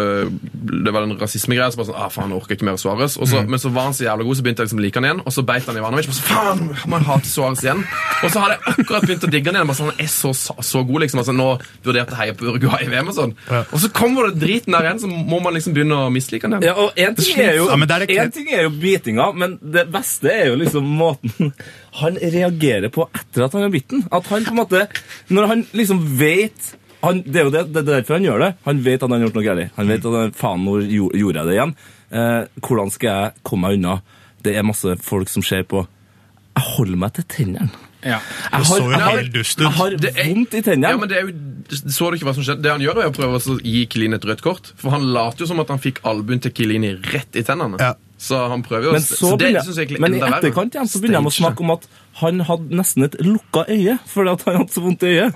[SPEAKER 2] Det var den rasismegreia, så bare sånn ah, faen, jeg orker ikke mer Suárez. Og så- Men så var han så jævla god, så begynte jeg liksom å like han igjen. Og så beit han Ivanovic. Og så faen, man hater Suárez igjen. Og så hadde jeg akkurat begynt å digge han igjen. Bare sånn, han er så, så, så god, liksom. Altså, nå vurderte jeg å heie på Uruguay i VM og sånn. Og så kommer det driten der igjen, så må man liksom begynne å mislike han igjen.
[SPEAKER 5] Ja, og en ting er jo,
[SPEAKER 6] Ja, men det er det ikke-
[SPEAKER 5] en ting er jo bitinga, men det beste er jo liksom måten han reagerer på etter at han er bitten. At han på en måte Når han liksom vet han, Det er jo det, det er derfor han gjør det. Han vet at han har gjort noe galt. Han vet at han, faen, nå gjo- gjorde jeg det igjen. Eh, hvordan skal jeg komme meg unna? Det er masse folk som ser på. Jeg holder meg til tennene. Jeg
[SPEAKER 6] så
[SPEAKER 5] har,
[SPEAKER 6] jo
[SPEAKER 5] jeg har,
[SPEAKER 6] helt dust ut.
[SPEAKER 5] jeg har
[SPEAKER 2] Det er-
[SPEAKER 5] vondt i
[SPEAKER 2] Ja,
[SPEAKER 5] tennene.
[SPEAKER 2] men det er jo, så du ikke hva som skjedde? Det han gjør, er å prøve å gi Kilini et rødt kort. For han later jo som at han fikk albuen til Kilini rett i tennene.
[SPEAKER 6] Ja.
[SPEAKER 2] Så han prøver jo
[SPEAKER 5] Men,
[SPEAKER 2] så
[SPEAKER 5] så
[SPEAKER 2] det
[SPEAKER 5] begynner,
[SPEAKER 2] synes jeg egentlig
[SPEAKER 5] men i
[SPEAKER 2] enda verre.
[SPEAKER 5] etterkant igjen så begynner de å snakke om at han hadde nesten et lukka øye fordi at han hadde så vondt i øyet.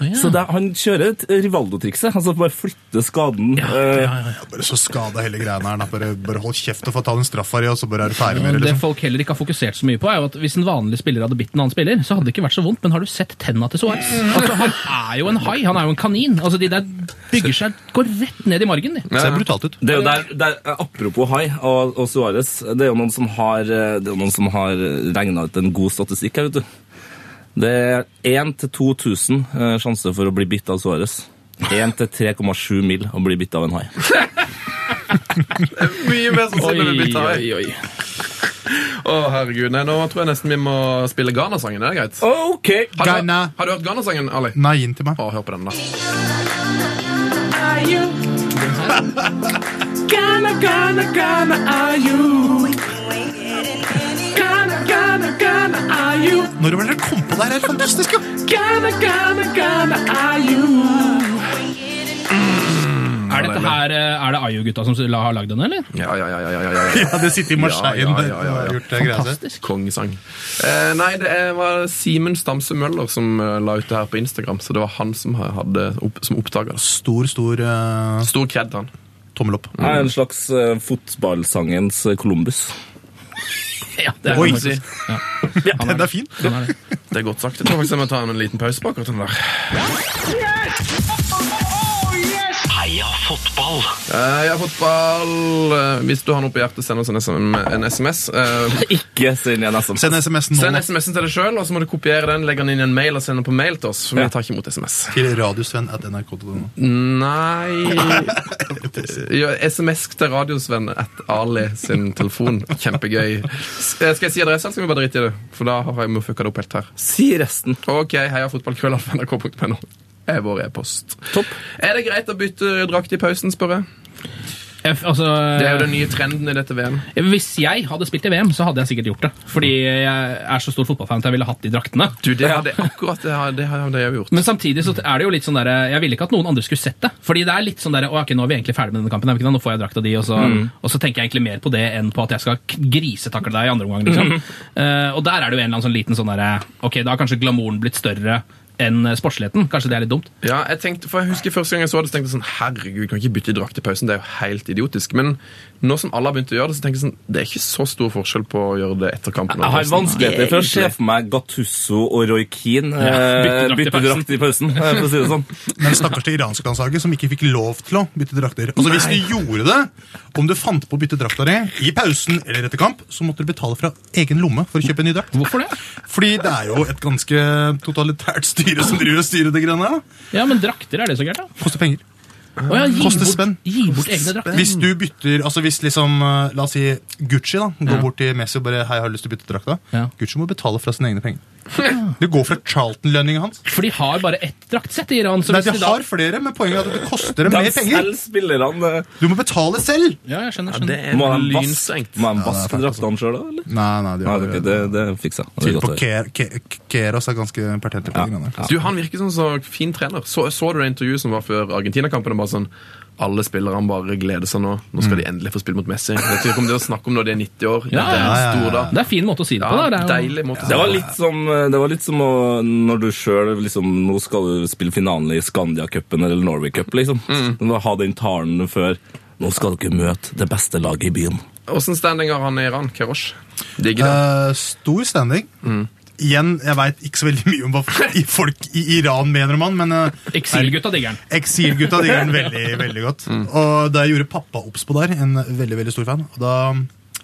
[SPEAKER 5] Så det, han kjører et Rivaldo-trikset. Altså bare flytte skaden. eh,
[SPEAKER 6] Jeg er bare så skada hele greia her. da. Bare, bare hold kjeft og få ta den straffa di, og så bare er du ferdig
[SPEAKER 2] Mm,
[SPEAKER 6] med det.
[SPEAKER 1] Det
[SPEAKER 6] Liksom.
[SPEAKER 1] folk heller ikke har fokusert så mye på, er jo at hvis en vanlig spiller hadde bitt en annen spiller, så hadde det ikke vært så vondt, men har du sett tenna til Suárez? Altså, han er jo en hai, han er jo en kanin. Altså, de der bygger seg Går rett ned i margen, de.
[SPEAKER 6] Det ser brutalt ut.
[SPEAKER 5] Det er jo der, der, apropos Hai og, og Suárez, det er jo noen som har, eh, det er jo noen som har regna ut en god statistikk her, vet du. Det er 1 til 2000 eh, sjanse for å bli bitt av Suárez. 1 til 3,7 mil å bli bitt av en hai.
[SPEAKER 2] Mye mer sannsynlig vi tar her.
[SPEAKER 1] oi.
[SPEAKER 2] Å, herregud. Nei, nå tror jeg nesten vi må spille Ghana-sangen. Er det greit?
[SPEAKER 5] OK!
[SPEAKER 2] Har du,
[SPEAKER 6] Ghana.
[SPEAKER 2] har du hørt Ghana-sangen, Ali?
[SPEAKER 6] Nei, inn til meg.
[SPEAKER 2] Å, hør på den, da.
[SPEAKER 6] Når var det dere kom på det her? Det er fantastisk, jo!
[SPEAKER 1] Er dette her eh, Er det Ayo-gutta som la- har lagd den, eller?
[SPEAKER 2] Ja, ja, ja. ja, ja, ja, ja.
[SPEAKER 6] Ja, det sitter i
[SPEAKER 2] Ja,
[SPEAKER 6] Marseille.
[SPEAKER 2] ja, ja, ja, ja.
[SPEAKER 6] Gjort det greia si.
[SPEAKER 2] Kongesang. Eh, nei, det er- var Simen Stamse Møller som eh, la ut det her på Instagram. Så det var han som hadde opp, som oppdaga det.
[SPEAKER 6] Stor, stor eh,
[SPEAKER 2] Stor kred til han.
[SPEAKER 6] tommel opp.
[SPEAKER 5] Det er en slags eh, fotballsangens eh, Columbus.
[SPEAKER 1] Ja, det
[SPEAKER 6] Oi.
[SPEAKER 1] faktisk- Ja,
[SPEAKER 6] Den er fin.
[SPEAKER 1] den er det.
[SPEAKER 2] Det er godt sagt. Jeg tror faktisk jeg må ta en liten pause på akkurat den der.
[SPEAKER 4] Heia fotball!
[SPEAKER 2] Eh, ja, fotball Eh, Hvis du har noe på hjertet, send oss en, SM, en SMS. Eh,
[SPEAKER 5] Ikke send igjen SMS.
[SPEAKER 6] Send SMS nå
[SPEAKER 2] send SMS-en til deg sjøl, og så må du kopiere den, legge den inn i en mail og sende den på mail til oss. For
[SPEAKER 5] Ja.
[SPEAKER 2] vi tar ikke imot SMS.
[SPEAKER 6] til radiosvenn.nrk.no.
[SPEAKER 2] Nei ja, SMS til radiosvenn at Ali sin telefon. Kjempegøy. S- eh, Skal jeg si adresse, eller skal vi bare drite i det? For da har jeg må fucka det opp helt her.
[SPEAKER 5] Si resten.
[SPEAKER 2] Ok, heia fotballkrøllalfa.nrk.no. Er vår e-post.
[SPEAKER 5] Topp.
[SPEAKER 2] Er det greit å bytte drakt i pausen, spør jeg?
[SPEAKER 1] F, altså,
[SPEAKER 2] Det
[SPEAKER 5] Eh.
[SPEAKER 2] er jo den nye trenden i dette VM.
[SPEAKER 1] Hvis jeg hadde spilt i VM, så hadde jeg sikkert gjort det. Fordi jeg er så stor fotballfan at jeg ville hatt de draktene.
[SPEAKER 2] Du, det hadde akkurat det hadde, det hadde jeg jo gjort.
[SPEAKER 1] Men samtidig så er det jo litt sånn der, jeg ville ikke at noen andre skulle sett det. Fordi det er litt sånn der, «Å, ok, nå er vi egentlig ferdig med denne kampen, er vi ikke det? nå får jeg drakta di, og så,
[SPEAKER 6] Mm.
[SPEAKER 1] og så tenker jeg egentlig mer på det enn på at jeg skal k- grisetakle
[SPEAKER 6] Mm-hmm.
[SPEAKER 1] deg i andre omgang. Liksom. Eh, og der er det jo en eller annen sånn liten sånn der, ok, da har kanskje glamouren blitt større enn eh, sportsligheten. Kanskje det er litt dumt.
[SPEAKER 2] Ja, jeg tenkte, for jeg husker Første gang jeg så det, så tenkte jeg sånn Herregud, kan ikke bytte drakt i pausen. Det er jo helt idiotisk. Men nå som alle har begynt å gjøre det, så tenker jeg sånn Det er ikke så stor forskjell på å gjøre det etter kampen.
[SPEAKER 5] Jeg
[SPEAKER 2] og
[SPEAKER 5] har
[SPEAKER 2] pausen.
[SPEAKER 5] vanskeligheter for å se for meg Gattusso og Roy Keane eh,
[SPEAKER 1] bytte drakt i
[SPEAKER 5] bytte
[SPEAKER 1] pausen.
[SPEAKER 5] drakt i pausen. eh, For å si det sånn.
[SPEAKER 6] Men stakkars det iranske landslaget som ikke fikk lov til å bytte drakter. Altså Hvis du gjorde det, om du fant på å bytte drakta di i pausen eller etter kamp, så måtte du betale fra egen lomme for å kjøpe en ny drakt.
[SPEAKER 1] Hvorfor det?
[SPEAKER 6] Fordi det er jo et ganske totalitært styre som driver og styrer det greiene her. da.
[SPEAKER 1] Ja, men drakter er det så gærent, da.
[SPEAKER 6] Koster penger.
[SPEAKER 1] Å ja, gi
[SPEAKER 6] Koster
[SPEAKER 1] bort,
[SPEAKER 6] spenn.
[SPEAKER 1] gi bort egne drakter.
[SPEAKER 6] Hvis du bytter, altså hvis liksom, eh, la oss si Gucci da, går bort til Messi og bare, hei, jeg har lyst til å bytte drakta.
[SPEAKER 1] Ja.
[SPEAKER 6] Gucci må betale fra sine egne penger. Det går fra Charlton-lønningen hans.
[SPEAKER 1] For de har bare ett draktsett i Iran. Så
[SPEAKER 6] Nei,
[SPEAKER 1] hvis
[SPEAKER 6] de
[SPEAKER 1] de da...
[SPEAKER 6] har flere, men poenget er at det koster dem
[SPEAKER 5] De
[SPEAKER 6] mer penger.
[SPEAKER 5] selv spillerne eh,
[SPEAKER 6] Du må betale selv!
[SPEAKER 1] Ja, jeg skjønner.
[SPEAKER 2] Ja, det
[SPEAKER 1] skjønner.
[SPEAKER 2] er
[SPEAKER 5] Må de vaske
[SPEAKER 2] lynstrengt.
[SPEAKER 5] må de
[SPEAKER 6] Ja, det er
[SPEAKER 5] vaske
[SPEAKER 6] fælt,
[SPEAKER 5] draktene sjøl, da? eller?
[SPEAKER 6] Nei, nei, de
[SPEAKER 5] Nei,
[SPEAKER 6] har
[SPEAKER 5] det, er ikke- det, det fikser jeg. Det er
[SPEAKER 6] Til på
[SPEAKER 5] godt å høre.
[SPEAKER 6] Ke- Ke- Ke- Keros er ganske pertente på de greiene der.
[SPEAKER 2] Du, Han virker sånn som en så fin trener. Så, så du det intervjuet som var før Argentina-kampen? og bare sånn alle spillerne bare gleder seg nå. Nå skal de endelig få spille mot Messi. Jeg tror ikke om det å snakke om når de er 90 år.
[SPEAKER 1] Ja,
[SPEAKER 2] Dette er en
[SPEAKER 6] ja, ja,
[SPEAKER 2] stor
[SPEAKER 6] ja.
[SPEAKER 2] dag.
[SPEAKER 1] Det er en fin måte å si det
[SPEAKER 2] Ja,
[SPEAKER 1] på. da. Det er jo...
[SPEAKER 2] deilig måte å si
[SPEAKER 5] Det var litt som, eh, det var litt som å, når du sjøl liksom, Nå skal du spille finalen i Scandia-cupen eller Norway Cup, liksom. Du må ha den talen før. Nå skal dere møte det beste laget i byen.
[SPEAKER 2] Åssen standing har han i Iran? Kerosh? Digger det.
[SPEAKER 6] Eh, stor standing.
[SPEAKER 5] Mm.
[SPEAKER 6] Igjen, jeg veit ikke så veldig mye om hva f- folk i Iran mener om han, men eh,
[SPEAKER 1] Eksilgutta digger den.
[SPEAKER 6] Eksilgutta de gjør den veldig, veldig godt.
[SPEAKER 2] Mm.
[SPEAKER 6] Og da gjorde pappa obs på der, en veldig veldig stor fan, og da,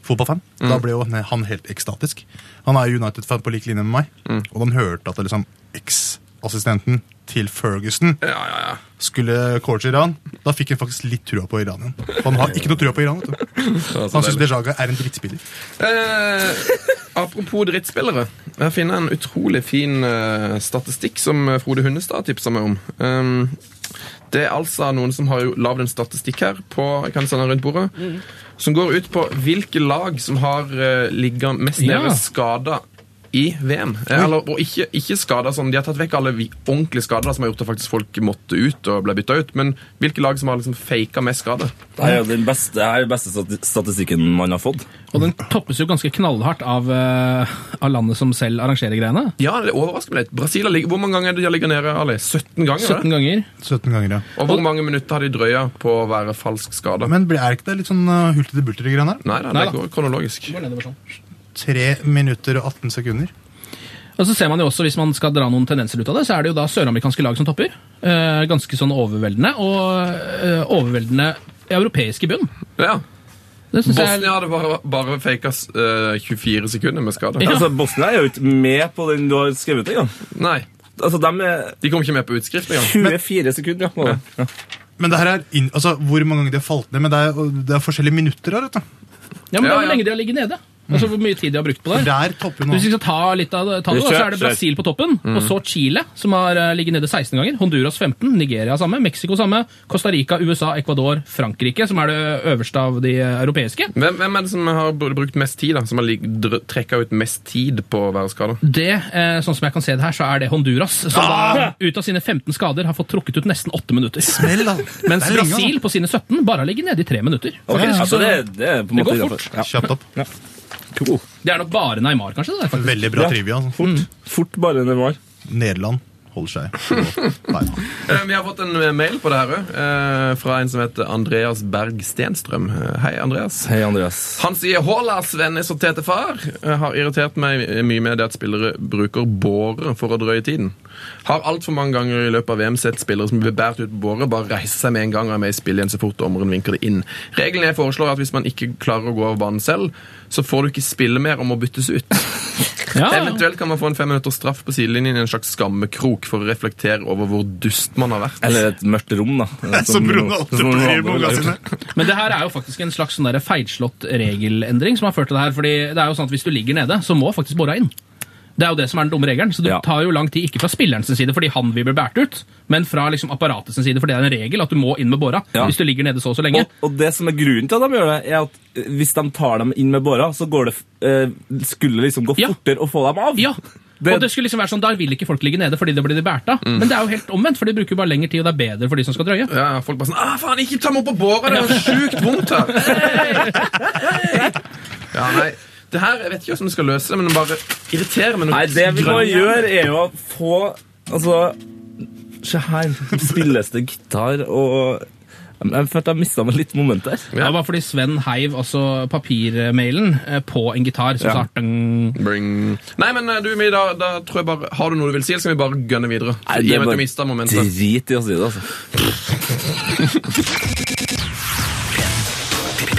[SPEAKER 6] fotballfan,
[SPEAKER 2] Mm.
[SPEAKER 6] da ble jo han- han helt ekstatisk. Han er United-fan på lik linje med meg,
[SPEAKER 2] Mm.
[SPEAKER 6] og da han hørte at det liksom eks-assistenten til Ferguson
[SPEAKER 2] Ja, ja, ja.
[SPEAKER 6] skulle coache Iran, da fikk han faktisk litt trua på Iran igjen. For han har ikke noe trua på Iran. vet du.
[SPEAKER 2] Det var så
[SPEAKER 6] Han syns
[SPEAKER 2] deilig.
[SPEAKER 6] Dejaga er en drittspiller.
[SPEAKER 2] Eh, apropos drittspillere. Jeg finner en utrolig fin eh, statistikk som eh, Frode Hundestad tipsa meg om. Um, det er altså noen som har lagd en statistikk her på kan jeg sende den rundt bordet, som går ut på hvilke lag som har uh, ligget mest
[SPEAKER 1] Ja.
[SPEAKER 2] nede skada i VM. Eh, Eller, og ikke, ikke skada sånn De har tatt vekk alle vi- ordentlige skader da, som har gjort at faktisk folk måtte ut og ble bytta ut. Men hvilke lag som har liksom faka mest skade?
[SPEAKER 5] Det er jo den beste, det er den beste stati- statistikken man har fått.
[SPEAKER 1] Og den toppes jo ganske knallhardt av, eh, av landet som selv arrangerer greiene.
[SPEAKER 2] Ja, det overrasker meg litt. Brasil har ligget, Hvor mange ganger er det de har ligget nede? Ali? 17 ganger? er det?
[SPEAKER 1] 17 ganger.
[SPEAKER 6] 17 ganger, ja.
[SPEAKER 2] Og hvor mange minutter har de drøya på å være falsk skada?
[SPEAKER 6] Men blir- er ikke det litt sånn uh, hultete bulter i greiene her?
[SPEAKER 2] Nei da, det
[SPEAKER 1] Nei da.
[SPEAKER 2] går kronologisk.
[SPEAKER 1] Går nedover sånn.
[SPEAKER 6] 3 minutter og 18 sekunder.
[SPEAKER 1] Og så ser man jo også, Hvis man skal dra noen tendenser ut av det, så er det jo da søramerikanske lag som topper. Eh, ganske sånn overveldende. Og eh, overveldende europeiske bunn.
[SPEAKER 2] Ja.
[SPEAKER 1] Det synes jeg er
[SPEAKER 2] Bosnia hadde bare, bare faka eh, 24 sekunder med skade.
[SPEAKER 1] Ja.
[SPEAKER 5] Altså, Bosnia er jo ikke med på den du har skrevet engang.
[SPEAKER 2] Nei,
[SPEAKER 5] Altså, de er
[SPEAKER 2] de kom ikke med på utskrift engang.
[SPEAKER 5] 24 sekunder, ja. må det. ja.
[SPEAKER 6] Men det her er inn, altså, Hvor mange ganger de har falt ned? Men det er, det er forskjellige minutter her. vet du.
[SPEAKER 1] Ja, men da
[SPEAKER 2] Ja,
[SPEAKER 1] hvor
[SPEAKER 2] ja.
[SPEAKER 1] lenge de har ligget nede. Altså hvor mye tid de har brukt på det.
[SPEAKER 6] Der topper
[SPEAKER 1] Hvis vi
[SPEAKER 6] nå.
[SPEAKER 1] skal ta litt av det, ta det da, så er det Brasil på toppen,
[SPEAKER 2] Mm.
[SPEAKER 1] og så Chile, som har eh, ligget nede 16 ganger. Honduras 15, Nigeria samme, Mexico samme, Costa Rica, USA, Ecuador, Frankrike, som er det øverste av de eh, europeiske.
[SPEAKER 2] Hvem, hvem er det som har br- brukt mest tid, da? Som har trekka ut mest tid på å være skada?
[SPEAKER 1] Det, eh, sånn som jeg kan se det her, så er det Honduras, som
[SPEAKER 5] Ah!
[SPEAKER 1] da, ut av sine 15 skader, har fått trukket ut nesten 8 minutter.
[SPEAKER 6] Smell, da.
[SPEAKER 1] Mens
[SPEAKER 6] Det er lenge, da.
[SPEAKER 1] Brasil på sine 17 bare har ligget nede i 3 minutter.
[SPEAKER 5] altså. Ok,
[SPEAKER 1] Faktisk,
[SPEAKER 5] altså,
[SPEAKER 1] så
[SPEAKER 5] det, det er på
[SPEAKER 1] Det
[SPEAKER 5] en måte
[SPEAKER 1] går
[SPEAKER 5] innenfor.
[SPEAKER 1] fort.
[SPEAKER 5] Ja.
[SPEAKER 6] altså. Kjapt opp.
[SPEAKER 5] Cool.
[SPEAKER 1] det er nok bare Neymar, kanskje? Det, der, faktisk.
[SPEAKER 6] Veldig bra
[SPEAKER 5] Ja.
[SPEAKER 6] trivia. Altså.
[SPEAKER 5] Fort.
[SPEAKER 1] Mm.
[SPEAKER 5] fort bare det var.
[SPEAKER 6] Nederland holder seg på beina.
[SPEAKER 2] Eh, Vi har fått en eh, mail på det her òg, fra en som heter Andreas Berg Stenstrøm. Eh, Hei, Andreas.
[SPEAKER 5] Hei, Andreas.
[SPEAKER 2] Han sier 'Hola, Svennis og tete far'. Jeg har irritert meg mye med det at spillere bruker båre for å drøye tiden. Har altfor mange ganger i løpet av VM sett spillere som blir båret ut på båre, bare reise seg med en gang og er med i spillet igjen så fort dommeren vinker det inn. Regelen jeg foreslår, er at hvis man ikke klarer å gå av banen selv, så får du ikke spille mer og må byttes ut.
[SPEAKER 1] Ja, ja.
[SPEAKER 2] Eventuelt kan man få en fem minutters straff på sidelinjen i en slags skammekrok for å reflektere over hvor dust man har vært.
[SPEAKER 5] Eller et mørkt rom, da.
[SPEAKER 6] Som Ronaldo
[SPEAKER 5] som Ronaldo
[SPEAKER 6] pleier på ungene
[SPEAKER 5] ville gjort.
[SPEAKER 6] sine.
[SPEAKER 1] Men det her er jo faktisk en slags sånn der feilslått regelendring som har ført til det her. fordi det er jo sånn at hvis du ligger nede, så må faktisk bora inn. Det er jo det som er den dumme regelen. Så det
[SPEAKER 5] Ja.
[SPEAKER 1] tar jo lang tid, ikke fra spillerens side fordi han vil bli båret ut, men fra liksom apparatets side, for det er en regel at du må inn med båra
[SPEAKER 5] Ja.
[SPEAKER 1] hvis du ligger nede så og så lenge.
[SPEAKER 5] Og, og det som er grunnen til at de gjør det, er at eh, hvis de tar dem inn med båra, så går det, f- eh, skulle det liksom gå
[SPEAKER 1] Ja.
[SPEAKER 5] fortere å få dem av.
[SPEAKER 1] Ja.
[SPEAKER 5] Det-
[SPEAKER 1] og det skulle liksom være sånn, Da vil ikke folk ligge nede fordi det blir de båret av. Men det er jo helt omvendt, for de bruker jo bare lengre tid, og det er bedre for de som skal drøye.
[SPEAKER 2] Ja, folk bare sånn ah, 'Faen, ikke ta meg opp på båret! Det er sjukt vondt her!' Hey! Ja, nei. Det her, Jeg vet ikke hvordan vi skal løse det, men det bare irriterer meg. noe
[SPEAKER 5] Nei, det vi må
[SPEAKER 2] grønn.
[SPEAKER 5] gjøre, er jo å få Altså, se her. Spilles det gitar og Jeg følte jeg mista meg litt moment der.
[SPEAKER 1] Det var fordi Sven heiv altså papirmailen eh, på en gitar som
[SPEAKER 5] Ja.
[SPEAKER 1] sa dang.
[SPEAKER 2] Bring. Nei, men eh, du, Mie, da, da tror jeg bare Har du noe du vil si, eller skal vi bare gønne videre?
[SPEAKER 5] Nei,
[SPEAKER 2] I
[SPEAKER 5] det
[SPEAKER 2] og med
[SPEAKER 5] var-
[SPEAKER 2] at du mistet momentet.
[SPEAKER 5] Drit i å si det, altså.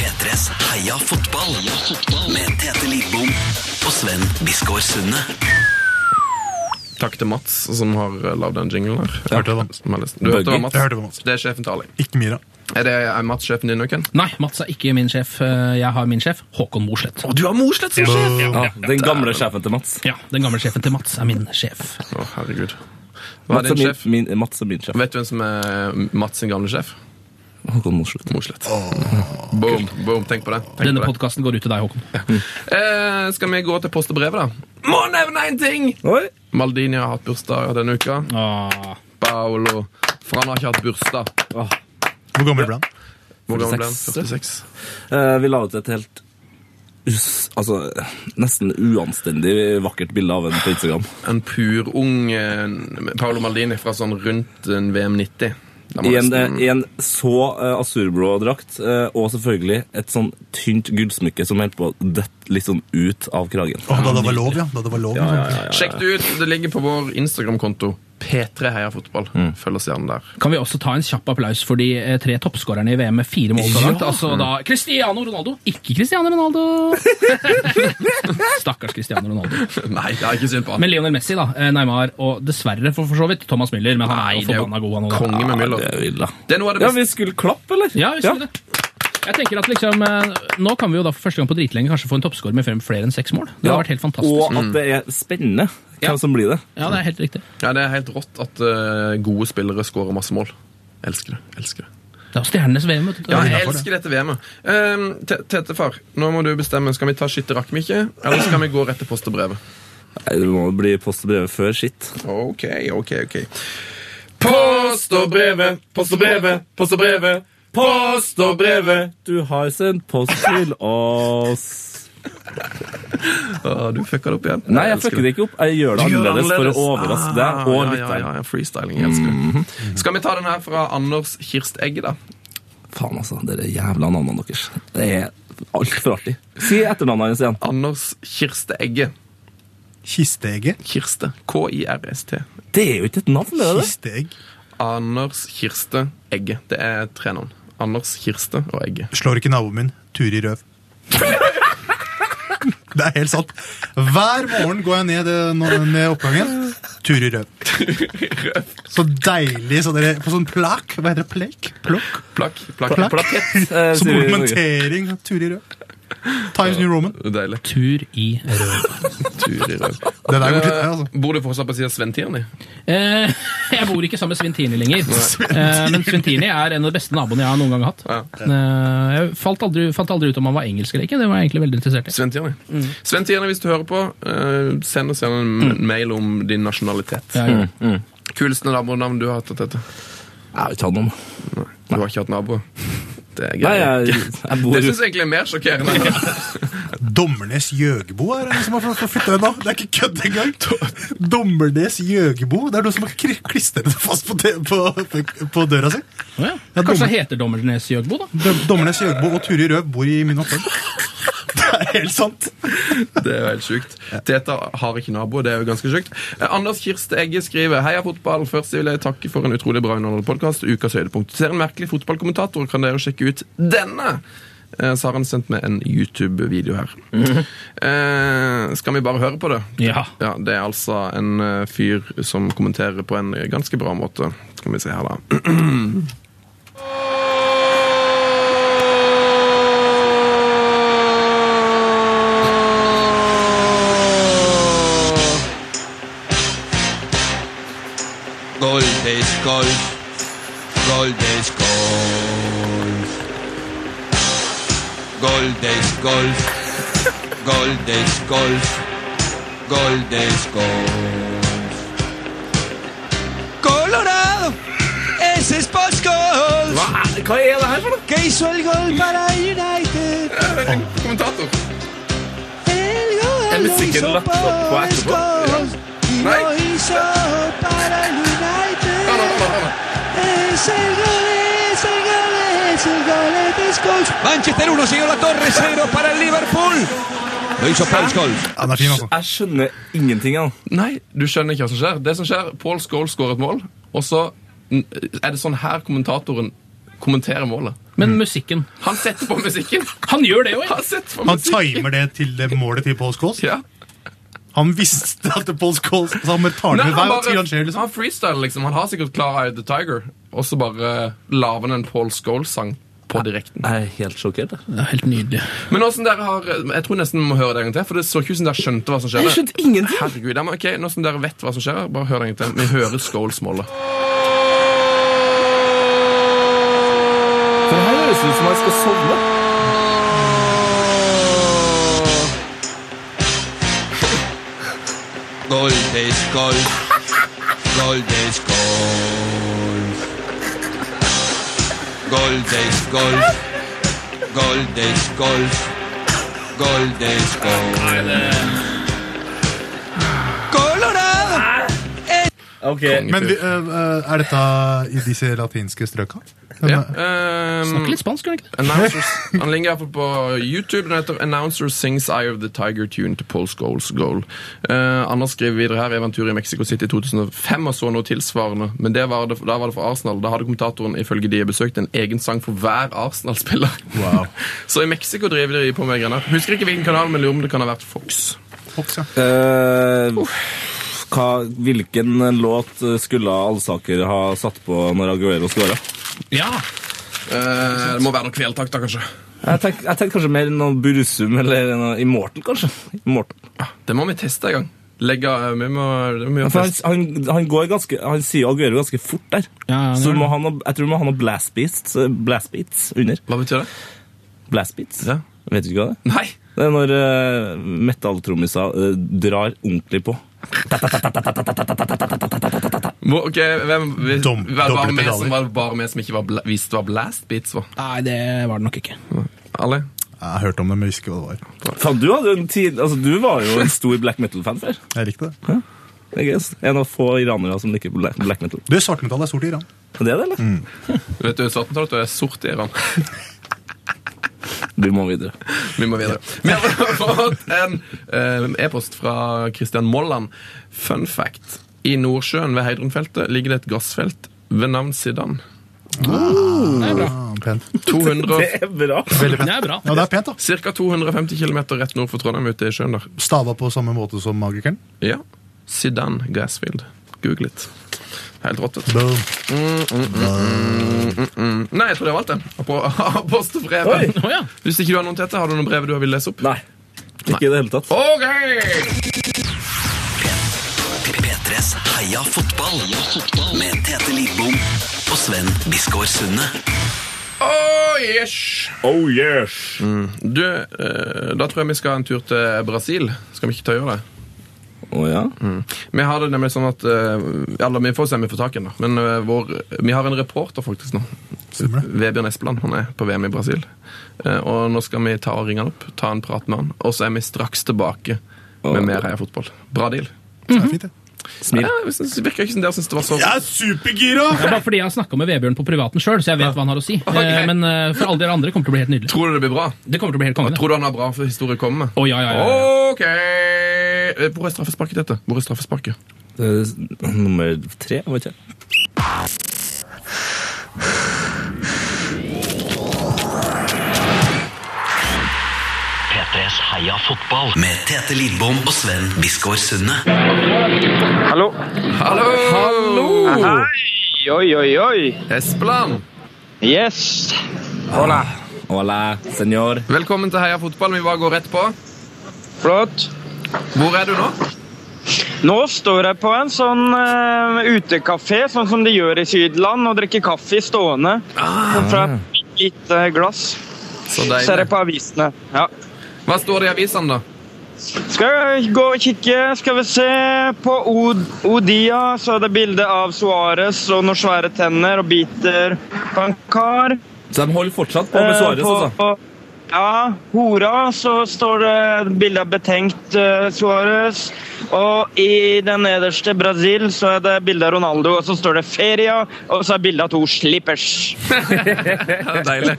[SPEAKER 4] P3s Heia fotball med Tete Lidbom og Sven Biskår Sunde.
[SPEAKER 2] Takk til Mats, som har eh, lagd den jinglen her.
[SPEAKER 6] Jeg hørte det, Mats.
[SPEAKER 2] Som har lest- Du hørte det var Mats?
[SPEAKER 6] Jeg hørte det var Mats.
[SPEAKER 2] Det er sjefen til Ali.
[SPEAKER 6] Ikke Mira.
[SPEAKER 2] Er, det, er Mats sjefen din nå, Ken?
[SPEAKER 1] Nei, Mats er ikke min sjef. Eh, Jeg har min sjef, Håkon Mosleth.
[SPEAKER 2] Å, du har Mosleth som sjef!
[SPEAKER 5] Ja, den gamle sjefen til Mats.
[SPEAKER 1] Ja, Den gamle sjefen til Mats er min sjef.
[SPEAKER 2] Å, herregud. Hva
[SPEAKER 5] Mats
[SPEAKER 2] er
[SPEAKER 5] er
[SPEAKER 2] din
[SPEAKER 5] min,
[SPEAKER 2] sjef?
[SPEAKER 5] min, Mats er min sjef.
[SPEAKER 2] Vet du hvem som er Mats sin gamle sjef?
[SPEAKER 5] Håkon Mosleth.
[SPEAKER 2] Mosleth. Boom, boom, tenk på det. Tenk
[SPEAKER 1] Denne
[SPEAKER 2] på det.
[SPEAKER 1] podkasten går ut til deg, Håkon.
[SPEAKER 2] Eh, skal vi gå til post og brev, da? Må nevne én ting!
[SPEAKER 5] Oi!
[SPEAKER 2] Maldini har hatt bursdag denne uka.
[SPEAKER 1] Åh.
[SPEAKER 2] Paolo. For han har ikke hatt bursdag.
[SPEAKER 5] Åh.
[SPEAKER 6] Hvor gammel ble han?
[SPEAKER 2] Hvor gammel ble han?
[SPEAKER 5] 46.
[SPEAKER 2] 46.
[SPEAKER 5] Eh, vi la ut et helt us, altså, nesten uanstendig vakkert bilde av henne på Instagram.
[SPEAKER 2] En pur ung eh, Paolo Maldini fra sånn rundt en VM 90. Da må
[SPEAKER 5] I en,
[SPEAKER 2] nesten-
[SPEAKER 5] eh, i en så eh, asurblå drakt, eh, og selvfølgelig et sånn tynt gullsmykke som holdt på å dette litt sånn ut av kragen.
[SPEAKER 6] Å, da det var lov, ja. Da det var lov. liksom.
[SPEAKER 2] Sjekk det ut. Det ligger på vår Instagram-konto. P3 Heia Fotball.
[SPEAKER 5] Mm.
[SPEAKER 2] Følg oss gjerne der.
[SPEAKER 1] Kan vi også ta en kjapp applaus for de eh, tre toppskårerne i VM med fire mål så langt? Altså da Cristiano Ronaldo. Ikke Cristiano Ronaldo! Stakkars Cristiano Ronaldo.
[SPEAKER 2] Nei, det er ikke synd på han.
[SPEAKER 1] Men Lionel Messi, da. eh, Neymar og dessverre for, for så vidt Thomas Müller. Men han er
[SPEAKER 2] Nei,
[SPEAKER 1] jo
[SPEAKER 2] det er jo
[SPEAKER 1] forbanna god, han òg.
[SPEAKER 2] Konge med
[SPEAKER 5] Det
[SPEAKER 2] Müller.
[SPEAKER 5] er vild, da.
[SPEAKER 2] Det er noe av det
[SPEAKER 5] Ja,
[SPEAKER 2] beste.
[SPEAKER 5] vi skulle klappe, eller?
[SPEAKER 1] Ja, vi skulle det. Jeg tenker at liksom, eh, Nå kan vi jo da for første gang på dritlenge kanskje få en toppskårer med frem- flere enn seks mål. Det
[SPEAKER 5] Ja,
[SPEAKER 1] har vært helt fantastisk.
[SPEAKER 5] Og at det er spennende hvem
[SPEAKER 1] Ja.
[SPEAKER 5] som blir det.
[SPEAKER 1] Ja, det er helt riktig.
[SPEAKER 2] Ja, det er helt rått at eh, gode spillere skårer masse mål. Elsker det. elsker det.
[SPEAKER 1] Det er jo stjernenes VM, vet du.
[SPEAKER 2] Ja, jeg
[SPEAKER 6] innenfor det.
[SPEAKER 2] elsker dette VM-et. Ehm, Te- Tete, far, nå må du bestemme. Skal vi ta skytterrakk, Mikke? Eller skal vi gå rett til post og brevet?
[SPEAKER 5] Nei, det må jo bli post og brev før skitt.
[SPEAKER 2] Ok, ok, ok. Post og brevet, post og brevet, post og brevet. Post og brevet!
[SPEAKER 5] Du har sendt post til oss.
[SPEAKER 2] Å, du fucka det opp igjen.
[SPEAKER 5] Nei, jeg fucker det ikke opp. Jeg gjør det annerledes for å overraske deg og
[SPEAKER 2] Ah, ja, ja,
[SPEAKER 5] lytteren.
[SPEAKER 2] ja, freestyling. Jeg elsker det. Skal vi ta den her fra Anders Kirst Egge, da?
[SPEAKER 5] Faen, altså. Dere jævla navnene deres. Det er altfor artig. Si etternavnet hans igjen.
[SPEAKER 2] Anders Kirste Egge.
[SPEAKER 6] Kisteegget.
[SPEAKER 2] Kirste. K-i-r-s-t.
[SPEAKER 5] Det er jo ikke et navn, er det det?
[SPEAKER 6] Kisteegg.
[SPEAKER 2] Anders Kirste Egge. Det er tre navn. Anders Kirste og Egge.
[SPEAKER 6] Slår ikke naboen min. Turer i røv. Det er helt sant. Hver morgen går jeg ned, eh, nå- ned oppgangen. Turer i røv. Så deilig. Så dere, på sånn plak. Hva heter det? Plek? Plokk? Sånn
[SPEAKER 2] Plakk. Plakk.
[SPEAKER 6] Plakk.
[SPEAKER 5] Plakett, eh,
[SPEAKER 6] Som
[SPEAKER 5] sier vi i Norge.
[SPEAKER 6] ornamentering. Turer i røv. Times New Roman.
[SPEAKER 2] Deilig.
[SPEAKER 1] Tur i rød.
[SPEAKER 2] Tur i røv.
[SPEAKER 6] Det der går til deg, altså.
[SPEAKER 2] Bor du fortsatt på siden av Sven Tierni?
[SPEAKER 1] Eh, jeg bor ikke sammen med Svintini lenger. Eh, men Svintini er en av de beste naboene jeg har noen gang hatt.
[SPEAKER 2] Ja.
[SPEAKER 1] Eh, jeg falt aldri, fant aldri ut om han var engelsk eller ikke. Det var jeg egentlig veldig interessert i.
[SPEAKER 2] Sven Tierni. Sven Tierni, hvis du hører på, eh, send oss gjerne en m- mail om din nasjonalitet.
[SPEAKER 1] Ja, ja.
[SPEAKER 2] Kuleste nabonavn du har hatt, Tete?
[SPEAKER 5] Jeg har ikke hatt noen.
[SPEAKER 2] Du har ikke hatt nabo? Det er
[SPEAKER 5] Nei,
[SPEAKER 2] greit.
[SPEAKER 5] jeg, jeg bor
[SPEAKER 2] Det syns jeg egentlig er mer sjokkerende.
[SPEAKER 6] Dommernes Gjøgbo er det som har fått flytta unna. Det er ikke kødd engang. Dommernes Gjøgbo. Det er noen som har kri- klistret det fast på, te- på, på døra si.
[SPEAKER 1] Ja.
[SPEAKER 6] Ja,
[SPEAKER 1] Kanskje
[SPEAKER 6] dommer-
[SPEAKER 1] han heter Dommernes Jøgbo, da?
[SPEAKER 6] Dom- Dommernes Gjøgbo og Turi Røv bor i min oppgang. Det er helt sant.
[SPEAKER 2] Det er jo helt sjukt. Teta har ikke nabo, det er jo ganske sjukt. Eh, Anders Kirste Egge skriver Heia fotball. Først vil jeg takke for en utrolig bra underholdende podkast. Ukas høydepunkt. Ser en merkelig fotballkommentator, kan dere sjekke ut denne? Eh, Så har han sendt meg en YouTube-video her. Eh, skal vi bare høre på det?
[SPEAKER 1] Ja.
[SPEAKER 2] ja. Det er altså en eh, fyr som kommenterer på en ganske bra måte. Skal vi se her, da.
[SPEAKER 7] Gold is gold. Gold is gold. Gold is gold. Gold is gold. Gold is gold. Colorado es Sports Gold.
[SPEAKER 5] Hva er det her for noe?
[SPEAKER 7] Que hizo el gol para United.
[SPEAKER 2] Kommentator!
[SPEAKER 7] El
[SPEAKER 2] musiquera
[SPEAKER 7] gol lo hizo
[SPEAKER 2] la- la-
[SPEAKER 7] para
[SPEAKER 2] cuatro,
[SPEAKER 7] Gold. Y
[SPEAKER 2] Right.
[SPEAKER 7] lo hizo para Golf. Manchester 1, siguió la torre, 0 para el Liverpool. Lo hizo Paul Golf.
[SPEAKER 6] Han er fin, altså.
[SPEAKER 5] Jeg skjønner ingenting. Han.
[SPEAKER 2] Nei, du skjønner ikke hva som skjer. Det som skjer, Paul Scholes skårer et mål, og så n- er det sånn her kommentatoren kommenterer målet.
[SPEAKER 1] Men musikken
[SPEAKER 2] Han setter på musikken!
[SPEAKER 1] Han gjør det jo, ja.
[SPEAKER 2] Han setter på
[SPEAKER 6] Han
[SPEAKER 2] musikken!
[SPEAKER 6] timer det til det målet til Paul Scholes.
[SPEAKER 2] Ja.
[SPEAKER 6] Han visste at det Paul Scholes altså, Han tar det
[SPEAKER 2] Nei,
[SPEAKER 6] med
[SPEAKER 2] han,
[SPEAKER 6] hver og sier
[SPEAKER 2] bare,
[SPEAKER 6] han skjer, liksom.
[SPEAKER 2] han freestyler, liksom. Han har sikkert Clara Eyed the Tiger, og så bare lager han en Paul Scholes-sang på direkten.
[SPEAKER 5] Jeg er helt sjokkert. jeg.
[SPEAKER 1] Det er helt nydelig.
[SPEAKER 2] Men hvordan dere har Jeg tror nesten vi må høre det en gang til, for det så ikke ut som dere skjønte hva som skjedde.
[SPEAKER 5] Jeg skjønte ingenting.
[SPEAKER 2] Herregud, ja, men ok, Nå som dere vet hva som skjer, bare hør det en gang til. Vi hører Scholes-målet.
[SPEAKER 5] For Det her høres ut som jeg skal sovne.
[SPEAKER 7] Gol de Golf. Gol de Golf. Gol de Golf. Gol de Golf. Gol de Golf. Colorado.
[SPEAKER 5] Ok,
[SPEAKER 6] Men vi, øh, øh, er dette i disse latinske strøka?
[SPEAKER 2] Ja.
[SPEAKER 6] Men,
[SPEAKER 2] Um,
[SPEAKER 1] Snakker litt spansk, gjør han ikke det?
[SPEAKER 2] announcers, han ligger i hvert fall på YouTube. Den heter 'Announcer sings Eye of the Tiger Tune to Paul Scholes Goal'. Eh, Anders skriver videre her 'Eventyr i Mexico City 2005' og så noe tilsvarende. Men det var det, da var det for Arsenal. Da hadde kommentatoren ifølge de jeg besøkte, en egen sang for hver Arsenal-spiller.
[SPEAKER 6] Wow.
[SPEAKER 2] så i Mexico driver de på med greier. Husker ikke hvilken kanal, men lurer om det kan ha vært Fox.
[SPEAKER 6] Fox, ja.
[SPEAKER 5] Eh, hva, hvilken låt skulle Alsaker ha satt på når Aguero skåra?
[SPEAKER 1] Ja.
[SPEAKER 2] Eh, det må være noe kvelertak, da, kanskje.
[SPEAKER 5] Jeg tenkte tenk kanskje mer noe Bursum eller noe Immortal, kanskje. Immortal.
[SPEAKER 2] Ah, Det må vi teste en gang. Legge, eh, vi må, det må vi gjøre
[SPEAKER 5] For han,
[SPEAKER 2] test.
[SPEAKER 5] han, han, går ganske, han sier jo Aguero ganske fort der.
[SPEAKER 1] Ja, ja, det
[SPEAKER 5] så
[SPEAKER 1] gjør
[SPEAKER 5] du må
[SPEAKER 1] det.
[SPEAKER 5] ha noe, jeg tror du må ha noe blast beats, eh, blast beats under.
[SPEAKER 2] Hva betyr det?
[SPEAKER 5] Blast beats.
[SPEAKER 2] Ja.
[SPEAKER 5] Vet du ikke hva det er?
[SPEAKER 2] Nei!
[SPEAKER 5] Det er når uh, metalltrommiser eh, drar ordentlig på.
[SPEAKER 2] Må, ok, hvem, vi,
[SPEAKER 6] Dom-
[SPEAKER 2] var, det bare
[SPEAKER 6] doble
[SPEAKER 2] vi
[SPEAKER 6] pedaler.
[SPEAKER 2] som, var det bare vi som ikke var bla, visste hva blast beats var?
[SPEAKER 1] Nei, det var det nok ikke.
[SPEAKER 2] Alle?
[SPEAKER 6] Jeg hørte om det, men visste ikke hva det var.
[SPEAKER 5] Faen, du, hadde jo en tid, altså, du var jo en stor black metal-fan før.
[SPEAKER 6] Jeg likte det.
[SPEAKER 5] Det er gøy, ass. En av få iranere som liker black, black metal.
[SPEAKER 6] Du, Svartmetall er stort i Iran.
[SPEAKER 5] Er det det, eller?
[SPEAKER 2] Vet du, svartmetall er sort i Iran.
[SPEAKER 5] Vi må videre.
[SPEAKER 2] Vi må videre. Vi har fått en eh, e-post fra Christian Molland. Fun fact. I Nordsjøen ved Heidrunfeltet ligger det et gassfelt ved navn Sidan.
[SPEAKER 1] Det er bra.
[SPEAKER 6] Ah, pent.
[SPEAKER 2] 200,
[SPEAKER 5] Det er bra.
[SPEAKER 6] Veldig
[SPEAKER 1] Det
[SPEAKER 6] pent.
[SPEAKER 1] er bra.
[SPEAKER 6] Ja, det er pent, da.
[SPEAKER 2] cirka 250 km rett nord for Trondheim ute i sjøen der.
[SPEAKER 6] Stava på samme måte som Magikeren.
[SPEAKER 2] Ja. Sidan Gasfield. Google it. Helt rått. vet du.
[SPEAKER 6] Boom.
[SPEAKER 2] Nei, jeg tror det var alt, det. På, post og brev.
[SPEAKER 5] Oi.
[SPEAKER 1] Å ja.
[SPEAKER 2] Hvis ikke du har noen tette, har du noen brev du vil lese opp?
[SPEAKER 5] Nei. Ikke i det hele tatt.
[SPEAKER 2] Ok!
[SPEAKER 4] P3s Heia fotball. Med Tete Lidbom og Sven Biskår Sunde.
[SPEAKER 2] Oh, yes.
[SPEAKER 5] Oh yes!
[SPEAKER 2] Du, eh, da tror jeg vi skal ha en tur til Brasil. Skal vi ikke ta og gjøre det?
[SPEAKER 5] Å ja?
[SPEAKER 2] Vi har det nemlig sånn at eh, Eller vi får se om vi får tak i den, da. Men eh, vår, vi har en reporter faktisk nå.
[SPEAKER 6] Stemmer det.
[SPEAKER 2] Vebjørn Espeland. Han er på VM i Brasil. Eh, og nå skal vi ta og ringe han opp, ta en prat med han. Og så er vi straks tilbake med mer Heia fotball. Bra deal.
[SPEAKER 6] Det er fint, det.
[SPEAKER 5] Smil.
[SPEAKER 2] Ja, jeg synes, det virker ikke som dere syns det var så
[SPEAKER 6] Jeg er supergira!
[SPEAKER 1] Det er bare fordi jeg har snakka med Vebjørn på privaten sjøl, så jeg vet hva han har å si. Eh, Men eh, for alle dere andre kommer det til å bli helt nydelig.
[SPEAKER 2] Tror du det blir bra?
[SPEAKER 1] Det kommer til å bli helt konge. det.
[SPEAKER 2] Tror du han har bra historie å komme med?
[SPEAKER 1] Å, ja, ja, ja, ja.
[SPEAKER 2] OK! Eh, Hvor er straffesparket dette? Hvor er straffesparket?
[SPEAKER 5] Det er Nummer tre, jeg vet ikke.
[SPEAKER 4] P3s Heia fotball. Med Tete Lidbom og Sven Biskår Sunde.
[SPEAKER 8] Hallo.
[SPEAKER 2] Hallo!
[SPEAKER 8] Hei, oi, oi, oi.
[SPEAKER 2] Espeland!
[SPEAKER 8] Yes.
[SPEAKER 5] Hola, senor.
[SPEAKER 2] Velkommen til Heia fotball. Vi bare går rett på.
[SPEAKER 8] Flott.
[SPEAKER 2] Hvor er du nå?
[SPEAKER 8] Nå står jeg på en sånn eh, utekafé, sånn som de gjør i Sydland, og drikker kaffe stående. Fra et lite glass.
[SPEAKER 2] Så
[SPEAKER 8] Ser jeg
[SPEAKER 2] deilig.
[SPEAKER 8] på avisene. Ja.
[SPEAKER 2] Hva står det i avisen, da?
[SPEAKER 8] Skal jeg gå og kikke, skal vi se. På Od Odia så er det bilde av Suárez og noen svære tenner og biter på en kar.
[SPEAKER 5] Så de holder fortsatt på med Suárez,
[SPEAKER 8] Eh, på-
[SPEAKER 5] altså?
[SPEAKER 8] Ja, hora, så står det bilde av betenkt eh, Suárez. Og i den nederste, Brasil, så er det bilde av Ronaldo, og så står det 'feria', og så er bilde av to slippers.
[SPEAKER 2] Det er deilig.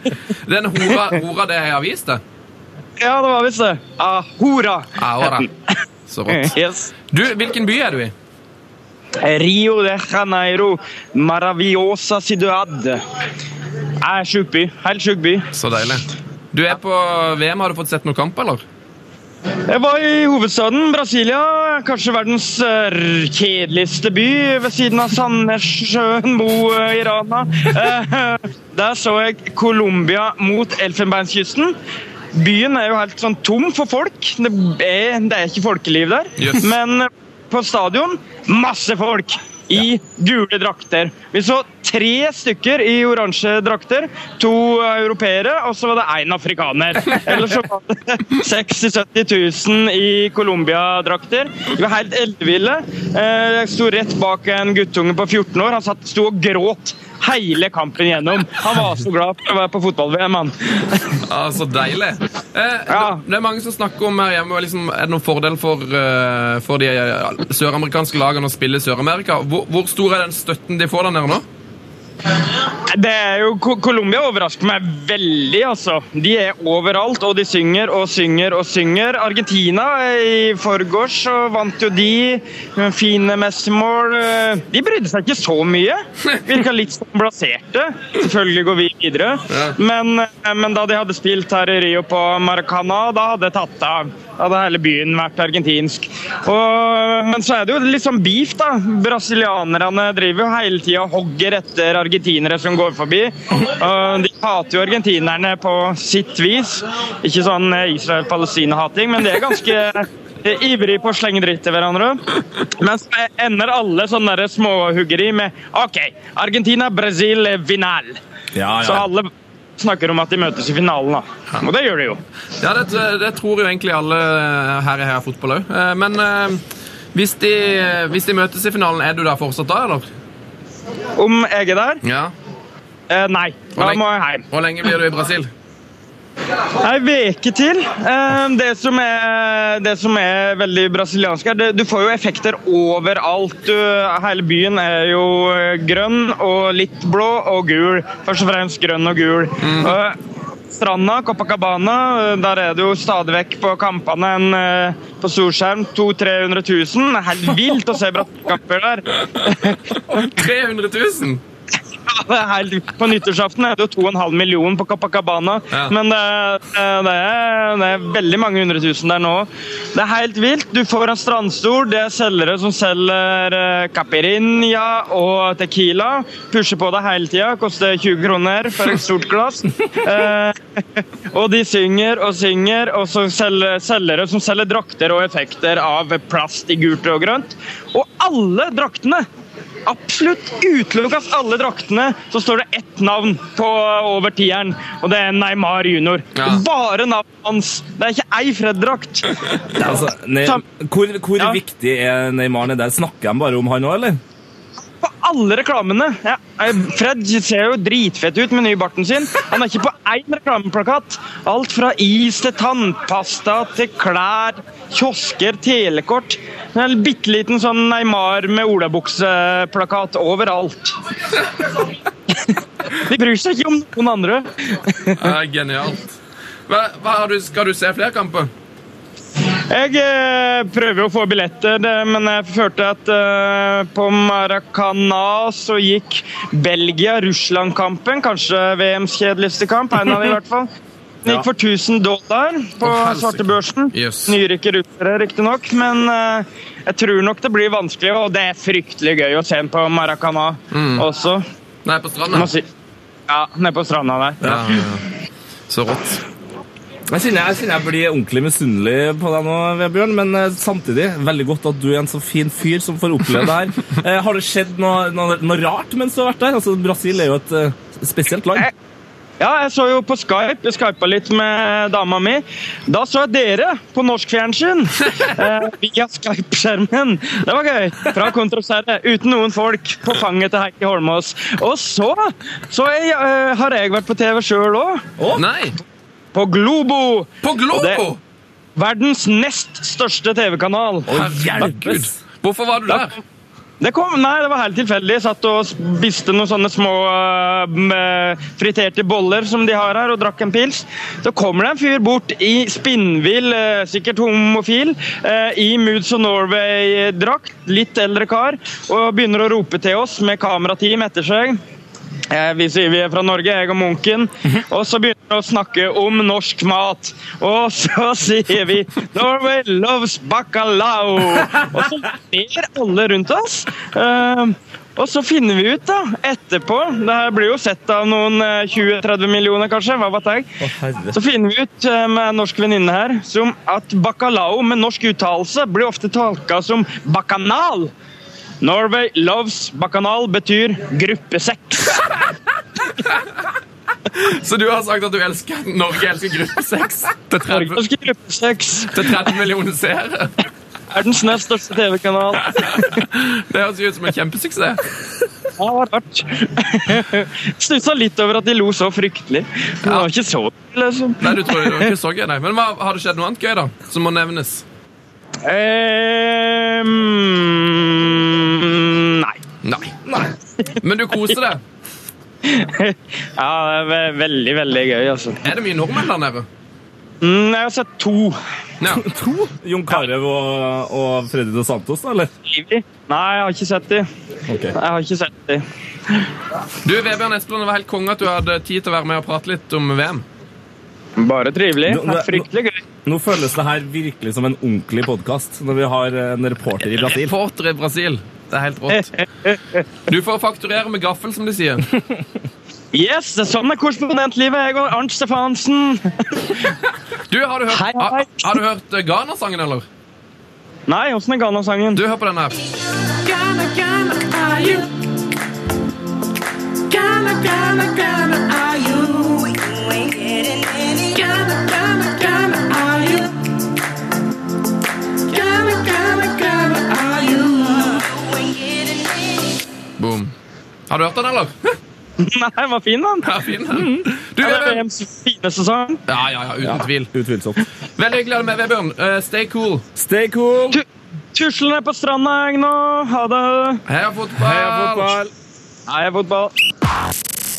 [SPEAKER 2] Den hora, hora det er i avis, det.
[SPEAKER 8] Ja, det var visst det. Ah, hora.
[SPEAKER 2] Aura. Så rått.
[SPEAKER 8] Yes.
[SPEAKER 2] Du, hvilken by er du i?
[SPEAKER 8] Rio de Janeiro, maravillosa ciudad. Er sjuk by. Helt sjuk by.
[SPEAKER 2] Så deilig. Du er på VM. Har du fått sett noen kamp, eller?
[SPEAKER 8] Jeg var i hovedstaden, Brasilia. Kanskje verdens eh, kjedeligste by ved siden av Sandnessjøen, Mo eh, i Rana. Eh, Der så jeg Colombia mot Elfenbeinskysten. Byen er jo helt sånn tom for folk. Det er, det er ikke folkeliv der.
[SPEAKER 2] Yes.
[SPEAKER 8] Men på stadion masse folk i gule drakter. Vi så tre stykker i oransje drakter. To eh, europeere, og så var det én afrikaner. Ellers så var det 60 000-70 000 i Colombia-drakter. Vi var helt elleville. Eh, Jeg sto rett bak en guttunge på 14 år. Han satt, sto og gråt hele kampen gjennom. Han var så glad for å være på fotball-VM, han.
[SPEAKER 2] Ja, så deilig. Eh,
[SPEAKER 8] Ja.
[SPEAKER 2] Det er mange som snakker om her hjemme liksom, Er det noen fordel for, eh, for de eh, søramerikanske lagene å spille i Sør-Amerika? Hvor, hvor stor er den støtten de får der nede nå?
[SPEAKER 8] Det er jo, Co- Colombia overrasker meg veldig, altså. De er overalt, og de synger og synger og synger. Argentina eh, i forgårs så vant jo de. eh, Fine Messemål. eh, De brydde seg ikke så mye. Virka litt som blaserte. Selvfølgelig går vi videre. Men, eh, men da de hadde spilt her i Rio på Maracana, da hadde jeg tatt av. Da hadde hele byen vært argentinsk. Og, men så er det jo litt sånn beef, da. Brasilianerne driver jo hele tida og hogger etter argentinere som går forbi. Og de hater jo argentinerne på sitt vis. Ikke sånn eh, Israel-Palestina-hating, men de er ganske eh, ivrig på å slenge dritt til hverandre. Men så ender alle sånne der småhuggeri med OK, Argentina, Brasil, eh, final.
[SPEAKER 5] Ja, ja.
[SPEAKER 8] Så alle snakker om at de møtes i finalen, da. Og det gjør de jo.
[SPEAKER 2] Ja, det, det tror jo egentlig alle her i Heia Fotball òg. Men eh, hvis de, hvis de møtes i finalen, er du der fortsatt da, eller?
[SPEAKER 8] Om jeg er der?
[SPEAKER 2] Ja.
[SPEAKER 8] Eh, nei. Da må jeg hjem.
[SPEAKER 2] Hvor lenge blir du i Brasil?
[SPEAKER 8] Ei veke til. Eh, Det som, er, det som er veldig brasiliansk, er at du får jo effekter overalt. Du, hele byen er jo eh, grønn og litt blå og gul. Først og fremst grønn og gul. Eh, Stranda, Copacabana, eh, der er det jo stadig vekk på kampene en, eh, på storskjerm 200 000-300 000. Det er helt vilt å se brattkamper der.
[SPEAKER 2] 300 000!
[SPEAKER 8] Ja, det er helt, på nyttårsaften er det jo 2,5 millioner på Copacabana.
[SPEAKER 2] Ja.
[SPEAKER 8] Men det, er- det, er, det er veldig mange hundre tusen der nå. Det er helt vilt. Du får en strandstol. Det er selgere som selger eh, caipirinha og tequila. Pusher på deg hele tida. Koster 20 kroner for et stort glass. Eh, og de synger og synger, og så selger selgere som selger drakter og effekter av plast i gult og grønt. Og alle draktene Absolutt utelukket alle draktene, så står det ett navn på over tieren, og det er Neymar junior.
[SPEAKER 2] Ja.
[SPEAKER 8] Bare navnet hans. Det er ikke ei Fred-drakt.
[SPEAKER 5] Altså, ne
[SPEAKER 8] Sam-
[SPEAKER 5] hvor hvor
[SPEAKER 8] Ja.
[SPEAKER 5] viktig er Neymar nede der? Snakker de bare om han òg, eller?
[SPEAKER 8] På alle reklamene. Ja. eh, Fred ser jo dritfett ut med ny barten sin. Han er ikke på én reklameplakat. Alt fra is til tannpasta til klær, kiosker, telekort. En bitte liten sånn Neymar med olabukseplakat overalt. De bryr seg ikke om noen andre.
[SPEAKER 2] Ja, genialt. Hva, hva har du, skal du se flere kamper?
[SPEAKER 8] Jeg eh, prøver jo å få billetter, det- men jeg følte at eh, på Maracana så gikk Belgia-Russland-kampen, kanskje VMs kjedeligste kamp, en av de i hvert fall. Den gikk for 1000 dollar på
[SPEAKER 2] Å, helsike.
[SPEAKER 8] svartebørsen.
[SPEAKER 2] Yes.
[SPEAKER 8] Nyrike russere, riktignok, men eh, jeg tror nok det blir vanskelig, og det er fryktelig gøy å se den på Maracana
[SPEAKER 2] Mm.
[SPEAKER 8] også.
[SPEAKER 2] Nei, på
[SPEAKER 8] Må
[SPEAKER 2] stranda?
[SPEAKER 8] si. Ja, nede på stranda der.
[SPEAKER 2] Ja, ja. Så rått.
[SPEAKER 5] Jeg kjenner, jeg kjenner jeg blir ordentlig misunnelig på deg nå, Vebjørn, men eh, samtidig veldig godt at du er en så fin fyr som får oppleve det her. Eh, har det skjedd noe, noe, noe rart mens du har vært der? Altså, Brasil er jo et eh, spesielt land.
[SPEAKER 8] Ja, jeg så jo på Skype. Jeg skypa litt med dama mi. Da så jeg dere på norsk fjernsyn eh, via Skype-skjermen. Det var gøy. Fra Kontroserre. Uten noen folk. På fanget til Heikki Holmås. Og så, så jeg, eh, har jeg vært på TV sjøl òg.
[SPEAKER 2] Nei!
[SPEAKER 8] På på Globo!
[SPEAKER 2] På Globo!
[SPEAKER 8] Det- Verdens nest største TV-kanal.
[SPEAKER 2] Herregud. Hvorfor var du der?
[SPEAKER 8] Det kom, nei, det var helt tilfeldig. Jeg satt og spiste noen sånne små eh, m- friterte boller som de har her, og drakk en pils. Så kommer det en fyr bort i spinnvill, eh, sikkert homofil, eh, i Moods of Norway-drakt, litt eldre kar, og begynner å rope til oss med kamerateam etter seg. Eh, Vi sier vi er fra Norge, jeg og munken. Og så begynner vi å snakke om norsk mat. Og så sier vi 'Norway loves bacalao'. Og så ler alle rundt oss. Eh, Og så finner vi ut da, etterpå Det her blir jo sett av noen eh, 20-30 millioner, kanskje. Hva vet jeg? Så finner vi ut eh, med en norsk venninne her som at bacalao med norsk uttalelse blir ofte tolka som bakanal. Norway loves bakanal betyr gruppesex.
[SPEAKER 2] Så du har sagt at du elsker Norge elsker gruppe 6 til 30,
[SPEAKER 8] Norsk gruppesex.
[SPEAKER 2] til 30 millioner seere?
[SPEAKER 8] Verdens nest største TV-kanal.
[SPEAKER 2] Det høres jo ut som en kjempesuksess.
[SPEAKER 8] Ja, det var rart. Stussa litt over at de lo så fryktelig. Men Det var ikke så liksom.
[SPEAKER 2] Nei, du tror det var ikke så gøy, nei. Men hva, har det skjedd noe annet gøy, da? Som må nevnes?
[SPEAKER 8] Ehm, nei.
[SPEAKER 2] Nei. Men du koser deg.
[SPEAKER 8] Ja, det er ve- veldig, veldig gøy, altså.
[SPEAKER 2] Er det mye nordmenn der nede?
[SPEAKER 8] Mm, jeg har sett to.
[SPEAKER 2] Ja.
[SPEAKER 5] Jon Carew og, og Freddy Dos Santos, da, eller?
[SPEAKER 8] Nei, jeg har ikke sett de.
[SPEAKER 5] Ok.
[SPEAKER 8] Jeg har ikke sett de.
[SPEAKER 2] Du, Vebjørn Espeland, det var helt konge at du hadde tid til å være med og prate litt om VM.
[SPEAKER 8] Bare trivelig.
[SPEAKER 5] Nå- nå-
[SPEAKER 8] Fryktelig gøy.
[SPEAKER 5] Nå føles det her virkelig som en ordentlig podkast når vi har eh, en reporter i Brasil.
[SPEAKER 2] Reporter i Brasil. Det er helt rått. Du får fakturere med gaffel, som de sier.
[SPEAKER 8] Yes, sånn er korrespondentlivet. Jeg og Arnt Stefansen.
[SPEAKER 2] Du, Har du hørt,
[SPEAKER 8] Hei, hei.
[SPEAKER 2] har, har du hørt eh, Ghana-sangen, eller?
[SPEAKER 8] Nei, åssen er Ghana-sangen?
[SPEAKER 2] Du, hør på den her. Boom. Har du hørt den, eller?
[SPEAKER 8] Nei, den var fin, den.
[SPEAKER 2] Ja, fin den. Du,
[SPEAKER 8] Det er
[SPEAKER 2] Vebjørn.
[SPEAKER 8] VMs fineste sang.
[SPEAKER 2] Ja, ja, ja, uten tvil.
[SPEAKER 5] Utvilsomt.
[SPEAKER 2] Veldig hyggelig å ha deg med, Vebjørn. Eh, stay cool.
[SPEAKER 5] Stay cool!
[SPEAKER 8] Tu- Tusle ned på stranda jeg nå. Ha det.
[SPEAKER 2] Heia fotball!
[SPEAKER 5] Heia fotball!
[SPEAKER 8] Nei, fotball.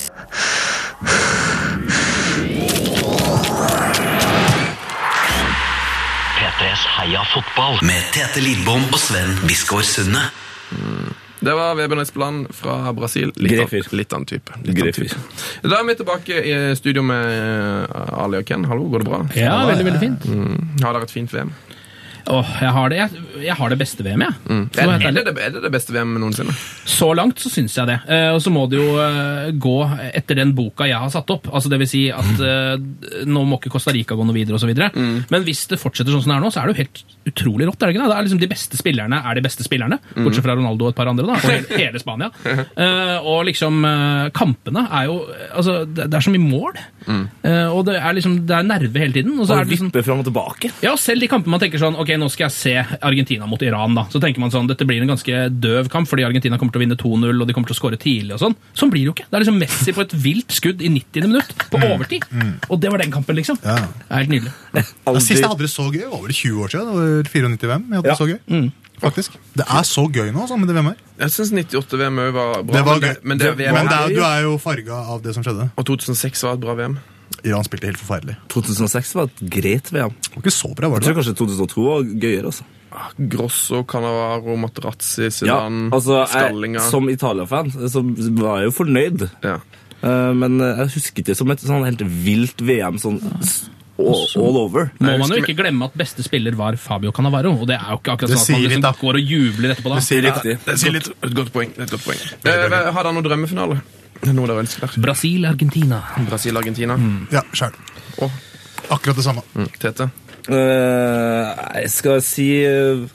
[SPEAKER 4] P3s Heia fotball med Tete Lidbom og Sven Biskår Sunne.
[SPEAKER 2] Det var Vebjørn Espeland fra Brasil. Litt,
[SPEAKER 5] Grei
[SPEAKER 2] an,
[SPEAKER 5] fyr.
[SPEAKER 2] litt annen type. Litt
[SPEAKER 5] Grei
[SPEAKER 2] annen type. Da er vi tilbake i studio med eh, Ali og Ken. Hallo, går det bra?
[SPEAKER 1] Ja, veldig, veldig fint.
[SPEAKER 2] Har dere et fint VM?
[SPEAKER 1] Åh, jeg har det, jeg, jeg har det beste VM, jeg. Så,
[SPEAKER 2] Er,
[SPEAKER 1] helt
[SPEAKER 2] er,
[SPEAKER 1] ærlig.
[SPEAKER 2] Mm. det, det- er det det beste VM noensinne?
[SPEAKER 1] så langt så syns jeg det. Eh, og så må det jo eh, gå etter den boka jeg har satt opp. Altså det vil si at eh, nå må ikke Costa Rica gå noe videre osv. videre. Men hvis det fortsetter sånn som det er nå, så er det jo helt utrolig rått. Er det ikke det? det er liksom De beste spillerne er de beste spillerne, bortsett fra Ronaldo og et par andre, da, og hele, hele Spania. Eh, og liksom eh, kampene er jo Altså, det, det er så mye mål. Eh, og det er liksom Det er nerve hele tiden. Og så er det liksom
[SPEAKER 5] Vippe fram og tilbake.
[SPEAKER 1] ja, og selv de kampene man tenker sånn Ok, nå skal jeg se Argentina mot Iran, da. Så tenker man sånn Dette blir en ganske døv kamp, fordi Argentina kommer til å vinne 2-0, og de kommer til å skåre tidlig og sånn. Sånn blir det jo ikke. Det er liksom Messi på et vilt skudd i 90. minutt, på overtid. Og det var den kampen, liksom.
[SPEAKER 6] Mm. Ja.
[SPEAKER 1] Det er helt nydelig.
[SPEAKER 6] Ja, Sist jeg hadde det så gøy, var vel 20 år siden. Det var 94 VM. Jeg hadde
[SPEAKER 5] Ja.
[SPEAKER 6] Det så
[SPEAKER 2] Mm.
[SPEAKER 6] gøy. Faktisk. Det er så gøy nå, sammen med det VM her.
[SPEAKER 2] Jeg syns 98-VM òg var bra.
[SPEAKER 6] Det var
[SPEAKER 2] men
[SPEAKER 6] gøy.
[SPEAKER 2] det- Men, det, VM,
[SPEAKER 6] Men det er, du er jo farga av det som skjedde.
[SPEAKER 2] Og 2006 var et bra VM.
[SPEAKER 6] Iran spilte helt forferdelig.
[SPEAKER 5] 2006 var et greit VM.
[SPEAKER 6] Det var ikke så bra, var
[SPEAKER 5] Jeg
[SPEAKER 6] det?
[SPEAKER 5] tror kanskje 2002 var gøyere, altså.
[SPEAKER 2] Ah, Grosso, Canavaro, Materazzi,
[SPEAKER 5] Ja,
[SPEAKER 2] Zidane,
[SPEAKER 5] altså jeg,
[SPEAKER 2] Skallinga
[SPEAKER 5] som Italia-fan eh, så var jeg jo fornøyd,
[SPEAKER 2] ja.
[SPEAKER 5] Eh, men jeg husker ikke som et sånn helt vilt VM sånn s- all, all over.
[SPEAKER 1] Må man jo ikke glemme at beste spiller var Fabio Canavaro, og det er jo ikke akkurat
[SPEAKER 6] Det
[SPEAKER 1] sånn at man
[SPEAKER 6] sier litt, da.
[SPEAKER 1] liksom går og jubler etterpå, da.
[SPEAKER 6] sier litt,
[SPEAKER 5] Riktig.
[SPEAKER 6] det sier litt.
[SPEAKER 2] Et godt poeng. Et godt poeng. Eh, har dere noen drømmefinale? Noe dere ønsker?
[SPEAKER 1] Brasil-Argentina.
[SPEAKER 2] Brasil-Argentina?
[SPEAKER 6] Ja, sjæl.
[SPEAKER 2] Åh.
[SPEAKER 6] Akkurat det samme.
[SPEAKER 2] Mm. Tete?
[SPEAKER 5] Eh, nei, skal jeg si eh,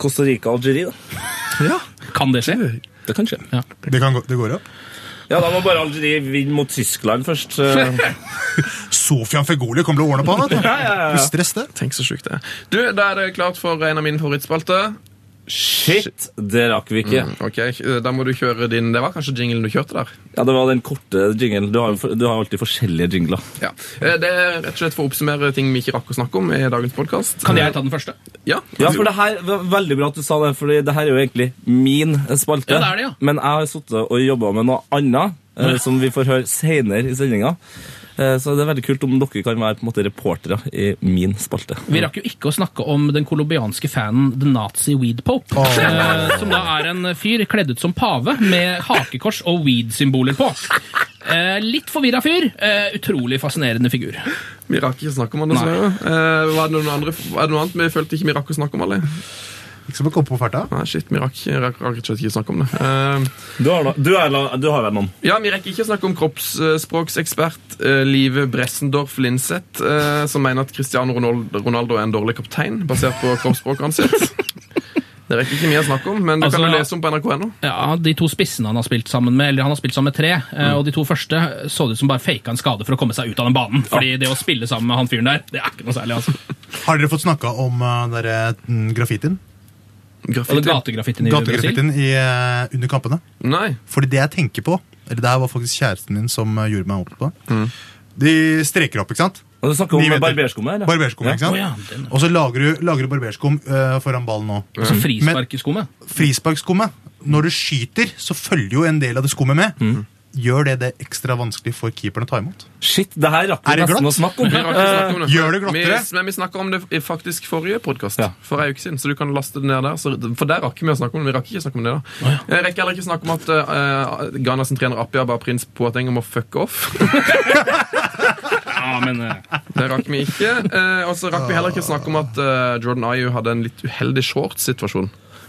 [SPEAKER 5] Costa Rica og Algerie, da?
[SPEAKER 1] Kan det skje?
[SPEAKER 5] Det kan skje.
[SPEAKER 6] Det, kan gå, det går opp.
[SPEAKER 5] Ja, da må bare Algerie vinne mot Tyskland først. eh.
[SPEAKER 6] Sofian Fegoli kommer til å ordne på han. vet du.
[SPEAKER 5] ja, ja, ja.
[SPEAKER 6] Du stress det.
[SPEAKER 2] Tenk så sjukt det er. Du, Da er det klart for en av mine favorittspalter.
[SPEAKER 5] Shit, det rakk vi ikke.
[SPEAKER 2] Ok, Da må du kjøre din Det var kanskje jinglen du kjørte der?
[SPEAKER 5] Ja, Det var den korte jinglen. Du har, jo for- du har alltid forskjellige jingler.
[SPEAKER 2] Ja. Eh, Det er rett og slett for å oppsummere ting vi ikke rakk å snakke om i dagens podkast.
[SPEAKER 1] Kan jeg ta den første?
[SPEAKER 2] Ja,
[SPEAKER 5] Ja, for det her var Veldig bra at du sa det, for det her er jo egentlig min spalte.
[SPEAKER 1] Ja, det er det, ja.
[SPEAKER 5] Men jeg har sittet og jobba med noe annet, eh, som vi får høre seinere i sendinga. Eh, så det er veldig kult om dere kan være på en måte reportere i min spalte.
[SPEAKER 1] Vi rakk jo ikke å snakke om den colombianske fanen The Nazi Weed Pope. eh, som da er en fyr kledd ut som pave med hakekors og weed-symboler på. Eh, litt forvirra fyr. eh, utrolig fascinerende figur.
[SPEAKER 2] Vi rakk ikke å snakke om han, dessverre. Eh, var det noen andre, er det noe annet vi følte ikke vi rakk å snakke om? alle?
[SPEAKER 6] Ikke som å komme på farta.
[SPEAKER 2] Nei, shit, vi rakk, rakk, rakk rett og slett ikke å snakke om det. Eh,
[SPEAKER 5] Du har, no- du er, la- du har vel noen?
[SPEAKER 2] ja, Vi rekker ikke å snakke om kroppsspråksekspert eh, Live Bressendorf Linseth, eh, som mener at Cristiano Ronaldo, Ronaldo er en dårlig kaptein, basert på kroppsspråket hans. sitt. Det rekker ikke mye å snakke om, men det kan
[SPEAKER 1] Altså,
[SPEAKER 2] du lese om på nrk.no.
[SPEAKER 1] Ja, De to spissene han har spilt sammen med, eller han har spilt sammen med tre, eh, og de to første så det ut som bare faka en skade for å komme seg ut av den banen. Fordi det å spille sammen med han fyren der, det er ikke noe særlig. altså.
[SPEAKER 6] Har dere fått snakka om uh, derre, mm, graffitien?
[SPEAKER 1] Og det
[SPEAKER 2] Graffiti?
[SPEAKER 1] gategraffitien i Brasil.
[SPEAKER 6] Gategraffitien i, eh, under kampene?
[SPEAKER 2] Nei.
[SPEAKER 6] Fordi det jeg tenker på Eller det her var faktisk kjæresten min som eh, gjorde meg opp på det.
[SPEAKER 1] Mm.
[SPEAKER 6] De streker opp, ikke sant?
[SPEAKER 5] Og Du snakker
[SPEAKER 6] Ni
[SPEAKER 5] om
[SPEAKER 6] meter.
[SPEAKER 5] barberskummet? eller?
[SPEAKER 6] Barberskum, ikke sant?
[SPEAKER 1] Å ja, den-
[SPEAKER 6] Og så lager du, lager du barberskum eh, foran ballen nå.
[SPEAKER 1] Og så frisparkskummet.
[SPEAKER 6] Frisparkskummet. Når du skyter, så følger jo en del av det skummet med.
[SPEAKER 1] Mm.
[SPEAKER 6] Gjør det det ekstra vanskelig for keeperen å ta imot?
[SPEAKER 5] Shit, det her rakk
[SPEAKER 6] Er
[SPEAKER 5] vi
[SPEAKER 6] det
[SPEAKER 5] nesten
[SPEAKER 6] glatt?
[SPEAKER 5] å snakke om.
[SPEAKER 2] Vi rakk ikke å snakke om det.
[SPEAKER 6] Gjør det glattere.
[SPEAKER 2] Vi, men vi snakka om det i faktisk forrige podkast,
[SPEAKER 5] Ja.
[SPEAKER 2] for ei uke siden. Så du kan laste det ned der. Så, for der rakk vi å snakke om det. Vi rakk ikke å snakke om det da. Jeg rekker heller ikke snakke om at uh, Ghana sin trener Appia ba prins Poateng om å fuck off.
[SPEAKER 1] Ja, men eh,
[SPEAKER 2] Det rakk vi ikke. Eh, og så rakk vi heller ikke å snakke om at eh, Jordan Ayew hadde en litt uheldig shorts-situasjon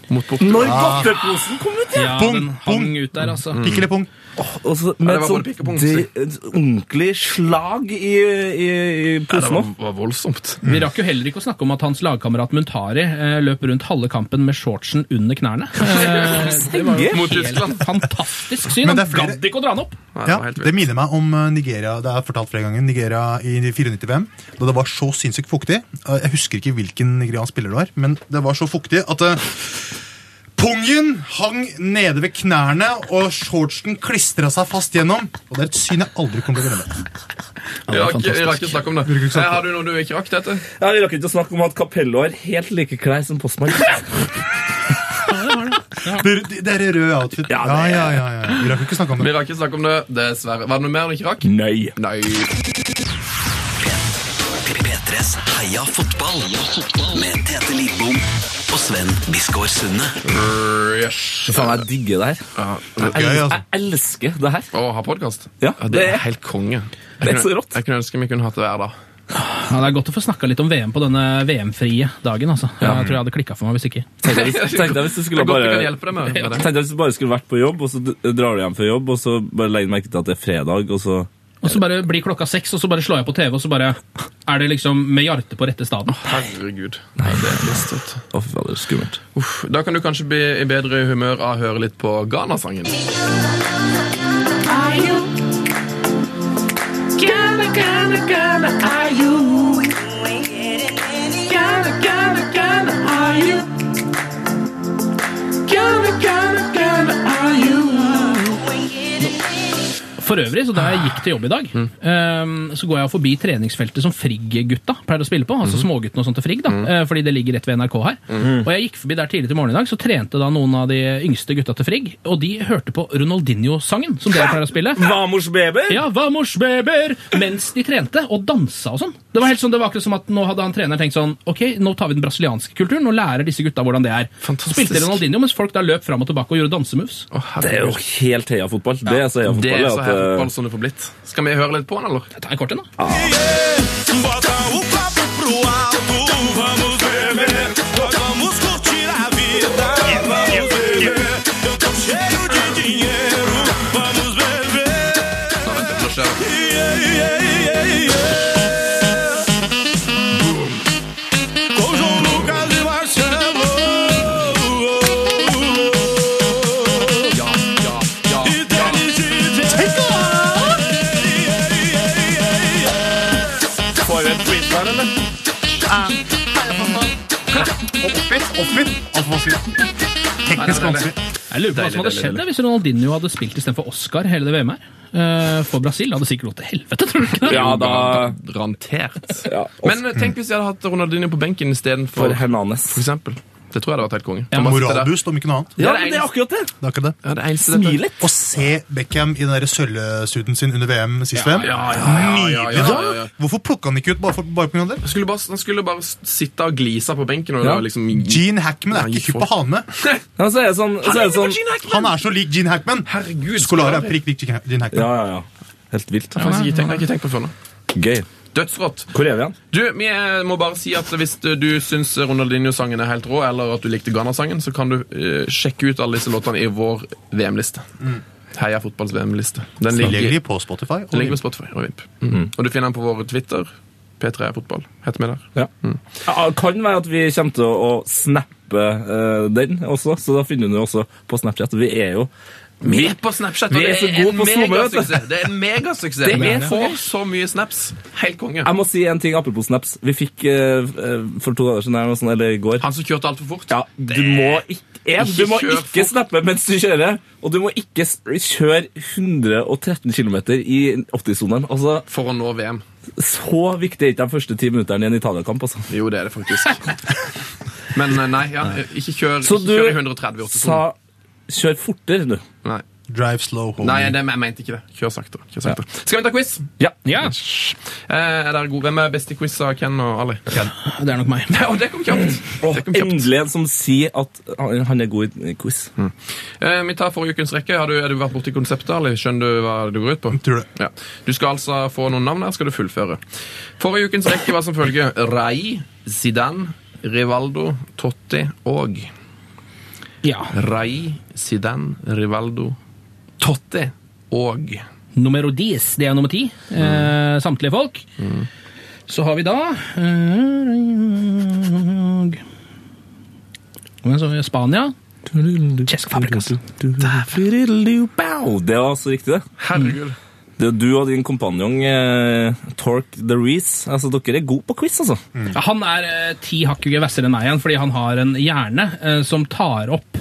[SPEAKER 2] mot Portugal.
[SPEAKER 5] Når godteposen kom ut!
[SPEAKER 1] ja,
[SPEAKER 6] Bom,
[SPEAKER 1] den
[SPEAKER 6] bom.
[SPEAKER 1] hang ut der, altså.
[SPEAKER 6] Pikk eller pung?
[SPEAKER 5] Og så
[SPEAKER 2] Ja,
[SPEAKER 5] med
[SPEAKER 2] det var
[SPEAKER 5] et
[SPEAKER 2] både pikk og pung,
[SPEAKER 5] sånt de- et ordentlig slag i, i, i
[SPEAKER 2] Ja, det
[SPEAKER 5] posen
[SPEAKER 2] var,
[SPEAKER 5] òg.
[SPEAKER 2] var voldsomt.
[SPEAKER 6] Mm.
[SPEAKER 1] Vi rakk jo heller ikke å snakke om at hans lagkamerat Muntari eh, løp rundt halve kampen med shortsen under knærne. Eh, det var jo
[SPEAKER 2] Mot Tyskland.
[SPEAKER 1] helt fantastisk syn.
[SPEAKER 6] Men
[SPEAKER 1] Han
[SPEAKER 6] det er flere-
[SPEAKER 1] gadd ikke å dra den opp.
[SPEAKER 2] Nei, det
[SPEAKER 6] Ja,
[SPEAKER 2] var helt
[SPEAKER 6] det
[SPEAKER 2] vilt.
[SPEAKER 6] minner meg om eh, Nigeria det er fortalt flere ganger, Nigeria i 94-VM. Da det var så sinnssykt fuktig. Eh, Jeg husker ikke hvilken nigeriansk spiller det var, men det var så fuktig at eh, pungen hang nede ved knærne, og shortsen klistra seg fast gjennom. Og det er et syn jeg aldri kommer til å glemme.
[SPEAKER 2] Vi rakk vi rakk ikke å snakke om det.
[SPEAKER 6] Vi rakk ikke å snakke om det.
[SPEAKER 2] Eh, har du noe du ikke rakk, Tete?
[SPEAKER 5] Ja, vi rakk ikke å snakke om at Capello har helt like klær som Postmann.
[SPEAKER 6] Det- Det det er rød outfit. Ja,
[SPEAKER 5] Ja, det
[SPEAKER 6] ja,
[SPEAKER 5] er-
[SPEAKER 6] ja. ja. Vi rakk ikke snakke om det.
[SPEAKER 2] Vi rakk ikke å snakke om det, dessverre. Var det noe mer du ikke rakk?
[SPEAKER 5] Nei.
[SPEAKER 2] Nei.
[SPEAKER 4] P3s Heia fotball med Tete Lidbom og Sven Biskår Sunde.
[SPEAKER 2] Brr, Yes.
[SPEAKER 5] Faen, jeg digger det her.
[SPEAKER 2] Ja.
[SPEAKER 6] Gøy, altså.
[SPEAKER 5] Jeg elsker det her.
[SPEAKER 2] Å ha podkast?
[SPEAKER 5] Ja,
[SPEAKER 2] det er
[SPEAKER 5] det-
[SPEAKER 2] helt konge.
[SPEAKER 5] Det er
[SPEAKER 2] kunne-
[SPEAKER 5] så rått.
[SPEAKER 2] Jeg kunne ønske vi kunne hatt det hver dag.
[SPEAKER 1] Ja, det er godt å få snakka litt om VM på denne VM-frie dagen. altså. Jeg tror jeg hadde klikka for meg hvis ikke.
[SPEAKER 5] Tenk deg hvis, tenk deg hvis du
[SPEAKER 2] Det
[SPEAKER 5] skulle
[SPEAKER 2] er godt vi kan
[SPEAKER 5] bare
[SPEAKER 2] hjelpe deg med med det.
[SPEAKER 5] Tenk deg hvis du bare skulle vært på jobb, og så d- drar du hjem fra jobb, og så bare legger du merke til at det er fredag, og så
[SPEAKER 1] Og så bare blir klokka seks, og så bare slår jeg på TV, og så bare er det liksom med Jarte på rette staden.
[SPEAKER 2] Herregud. Nei, det er trist, vet du.
[SPEAKER 5] Å, fy fader, skummelt.
[SPEAKER 2] Uff, da kan du kanskje bli i bedre humør av å høre litt på Ghana-sangen.
[SPEAKER 1] For øvrig, så da jeg gikk til jobb i dag, ehm, så går jeg forbi treningsfeltet som Frigg-gutta pleier å spille på. Altså småguttene og sånt til Frigg, da, eh, fordi det ligger rett ved NRK her. Og jeg gikk forbi der tidlig til morgenen i dag, så trente da noen av de yngste gutta til Frigg, og de hørte på Ronaldinho-sangen som dere pleier å spille.
[SPEAKER 5] Vamors baby!
[SPEAKER 1] Ja, vamos, baber! Mens de trente og dansa og sånn. Det var helt sånn, det var akkurat som at nå hadde han treneren tenkt sånn Ok, nå tar vi den brasilianske kulturen, nå lærer disse gutta hvordan det er.
[SPEAKER 2] Fantastisk.
[SPEAKER 1] Spilte Ronaldinho mens folk da løp fram og tilbake og gjorde dansemoves.
[SPEAKER 2] Å,
[SPEAKER 5] Det er jo
[SPEAKER 2] herregud.
[SPEAKER 5] helt heia fotball. Det er så heia
[SPEAKER 2] Det er så
[SPEAKER 5] fotball.
[SPEAKER 2] her
[SPEAKER 5] at, eh,
[SPEAKER 2] fotball som det får blitt. Skal vi høre litt på den, eller?
[SPEAKER 1] Jeg tar en kort en, da.
[SPEAKER 9] Bota o papo pro alto, vamos beber, vamos curtir a vida, vamos beber. Eu tô cheio de dinheiro, vamos beber.
[SPEAKER 2] Nå, vent, nå skjer det.
[SPEAKER 9] Yeah, yeah, yeah, yeah. Com João Lucas e Marcelo.
[SPEAKER 2] Ja, ja, ja,
[SPEAKER 9] E Dennis DJ. Yeah, yeah, yeah, yeah.
[SPEAKER 5] eh, For en quiz, var det
[SPEAKER 6] sponsorer. Teknisk sponsorer.
[SPEAKER 1] Jeg lurer på hva
[SPEAKER 2] Deilig,
[SPEAKER 1] som hadde
[SPEAKER 2] deilig,
[SPEAKER 1] skjedd
[SPEAKER 2] deilig.
[SPEAKER 1] da, hvis Ronaldinho hadde spilt istedenfor Oscar hele det VM-et. eh, for Brasil hadde sikkert gått til helvete, tror du ikke det?
[SPEAKER 5] Ja, da
[SPEAKER 2] Garantert.
[SPEAKER 5] ja,
[SPEAKER 2] Men eh, tenk hvis jeg hadde hatt Ronaldinho på benken
[SPEAKER 5] For
[SPEAKER 2] istedenfor for
[SPEAKER 5] Hernanes.
[SPEAKER 2] eksempel. Det tror jeg hadde vært helt konge.
[SPEAKER 1] Ja,
[SPEAKER 2] For bare sitte der.
[SPEAKER 6] Moralboost, om ikke noe annet.
[SPEAKER 5] Ja,
[SPEAKER 2] det er
[SPEAKER 5] men det er
[SPEAKER 2] eneste-
[SPEAKER 5] akkurat det!
[SPEAKER 6] Det er ikke det.
[SPEAKER 2] Ja, det er eneste dette-
[SPEAKER 5] Smil litt.
[SPEAKER 6] Å se Beckham i den der sølvsuiten sin under VM sist VM
[SPEAKER 2] ja, ja, ja, ja,
[SPEAKER 6] Nydelig!
[SPEAKER 2] ja, ja, ja.
[SPEAKER 6] da. Hvorfor plukka han ikke ut bare, for, bare på grunn av det?
[SPEAKER 2] Han skulle bare, han skulle bare sitte og glise på benken. Og det
[SPEAKER 5] Ja.
[SPEAKER 2] var liksom,
[SPEAKER 6] Gene Hackman er
[SPEAKER 2] Ja,
[SPEAKER 6] ikke
[SPEAKER 2] gi
[SPEAKER 6] hypp på hane.
[SPEAKER 5] Ja, så er det sånn, så er det sånn
[SPEAKER 6] Han er så lik Gene Hackman!
[SPEAKER 2] Herregud,
[SPEAKER 6] Skolari er prikk lik Gene Hackman.
[SPEAKER 5] Ja, ja, ja. Helt vilt.
[SPEAKER 2] Jeg har faktisk ikke tenkt, jeg har ikke tenkt på det før nå.
[SPEAKER 5] Gøy.
[SPEAKER 2] Dødsrått.
[SPEAKER 5] Hvor er vi igjen?
[SPEAKER 2] Du, vi eh, må bare si at Hvis du du syns Ronaldinho-sangen er helt rå, eller at du likte Ghana-sangen, så kan du eh, sjekke ut alle disse låtene i vår VM-liste. Heia fotballs VM-liste. Den ligger,
[SPEAKER 6] Tilgjengelig på Spotify.
[SPEAKER 2] den ligger
[SPEAKER 6] Og
[SPEAKER 2] på Spotify og Vimp.
[SPEAKER 5] Mm.
[SPEAKER 2] Og du finner den på vår Twitter. P3 Fotball heter vi der.
[SPEAKER 5] Ja. Ja, det kan være at vi kommer til å å snappe eh, den også, så da finner du den også på Snapchat. Vi er jo
[SPEAKER 2] Vi er på Snapchat! og
[SPEAKER 5] Vi er så gode på Zoom, vet du.
[SPEAKER 2] megasuksess! Det er en megasuksess!
[SPEAKER 5] Det er
[SPEAKER 2] Vi får så mye snaps. Helt konge.
[SPEAKER 5] Jeg må si en ting apropos snaps. Vi fikk eh, eh, for to dager siden, eller noe sånt, eller i går
[SPEAKER 2] Han som kjørte altfor fort.
[SPEAKER 5] ja, Du må ikke, en, du må
[SPEAKER 2] Ikke kjør
[SPEAKER 5] ikke
[SPEAKER 2] fort.
[SPEAKER 5] snappe mens du kjører, og du må ikke s- kjøre 113 km i 80-sonen. Altså,
[SPEAKER 2] For å nå VM.
[SPEAKER 5] så viktig er ikke de første ti minuttene i en Italia-kamp. Altså.
[SPEAKER 2] Jo, det er det faktisk. Men eh, nei, ja, ikke kjør,
[SPEAKER 5] Så
[SPEAKER 2] ikke
[SPEAKER 5] du
[SPEAKER 2] kjør i 130 i 8
[SPEAKER 5] Sa kjør fortere, du.
[SPEAKER 2] Nei.
[SPEAKER 6] drive slow home.
[SPEAKER 2] Nei, det, jeg mente ikke det. Kjør sakte. Kjør sakte. Skal vi ta quiz?
[SPEAKER 5] Ja.
[SPEAKER 1] Ja,
[SPEAKER 2] Eh, er dere gode? Hvem er best i quiz av Ken og Ali?
[SPEAKER 1] det er nok meg.
[SPEAKER 2] Ja, det kom kjapt!
[SPEAKER 5] Og
[SPEAKER 2] Det kom kjapt.
[SPEAKER 5] endelig en som sier at han han er god i quiz.
[SPEAKER 2] Eh, vi tar forrige ukens rekke. Har du, er du vært borti konseptet, Ali? Skjønner du hva det går ut på?
[SPEAKER 6] Tror det.
[SPEAKER 2] Ja. Du skal altså få noen navn her, skal du fullføre. Forrige ukens rekke var som følger Rai, Zidane, Rivaldo, Totti og
[SPEAKER 1] Ja,
[SPEAKER 2] Rai, Zidane, Rivaldo, Totti og
[SPEAKER 1] Numero 10, det er nummer 10. Eh, samtlige folk. Så har vi da eh, og så har vi Spania. Cesc Fabregas.
[SPEAKER 5] Bow, Det var altså riktig, det.
[SPEAKER 2] Herregud.
[SPEAKER 5] Det er du og din kompanjong eh, Tork the Reece. Altså, dere er gode på quiz, altså.
[SPEAKER 1] Ja, Han er eh, ti hakk hvassere enn meg igjen, fordi han har en hjerne eh, som tar opp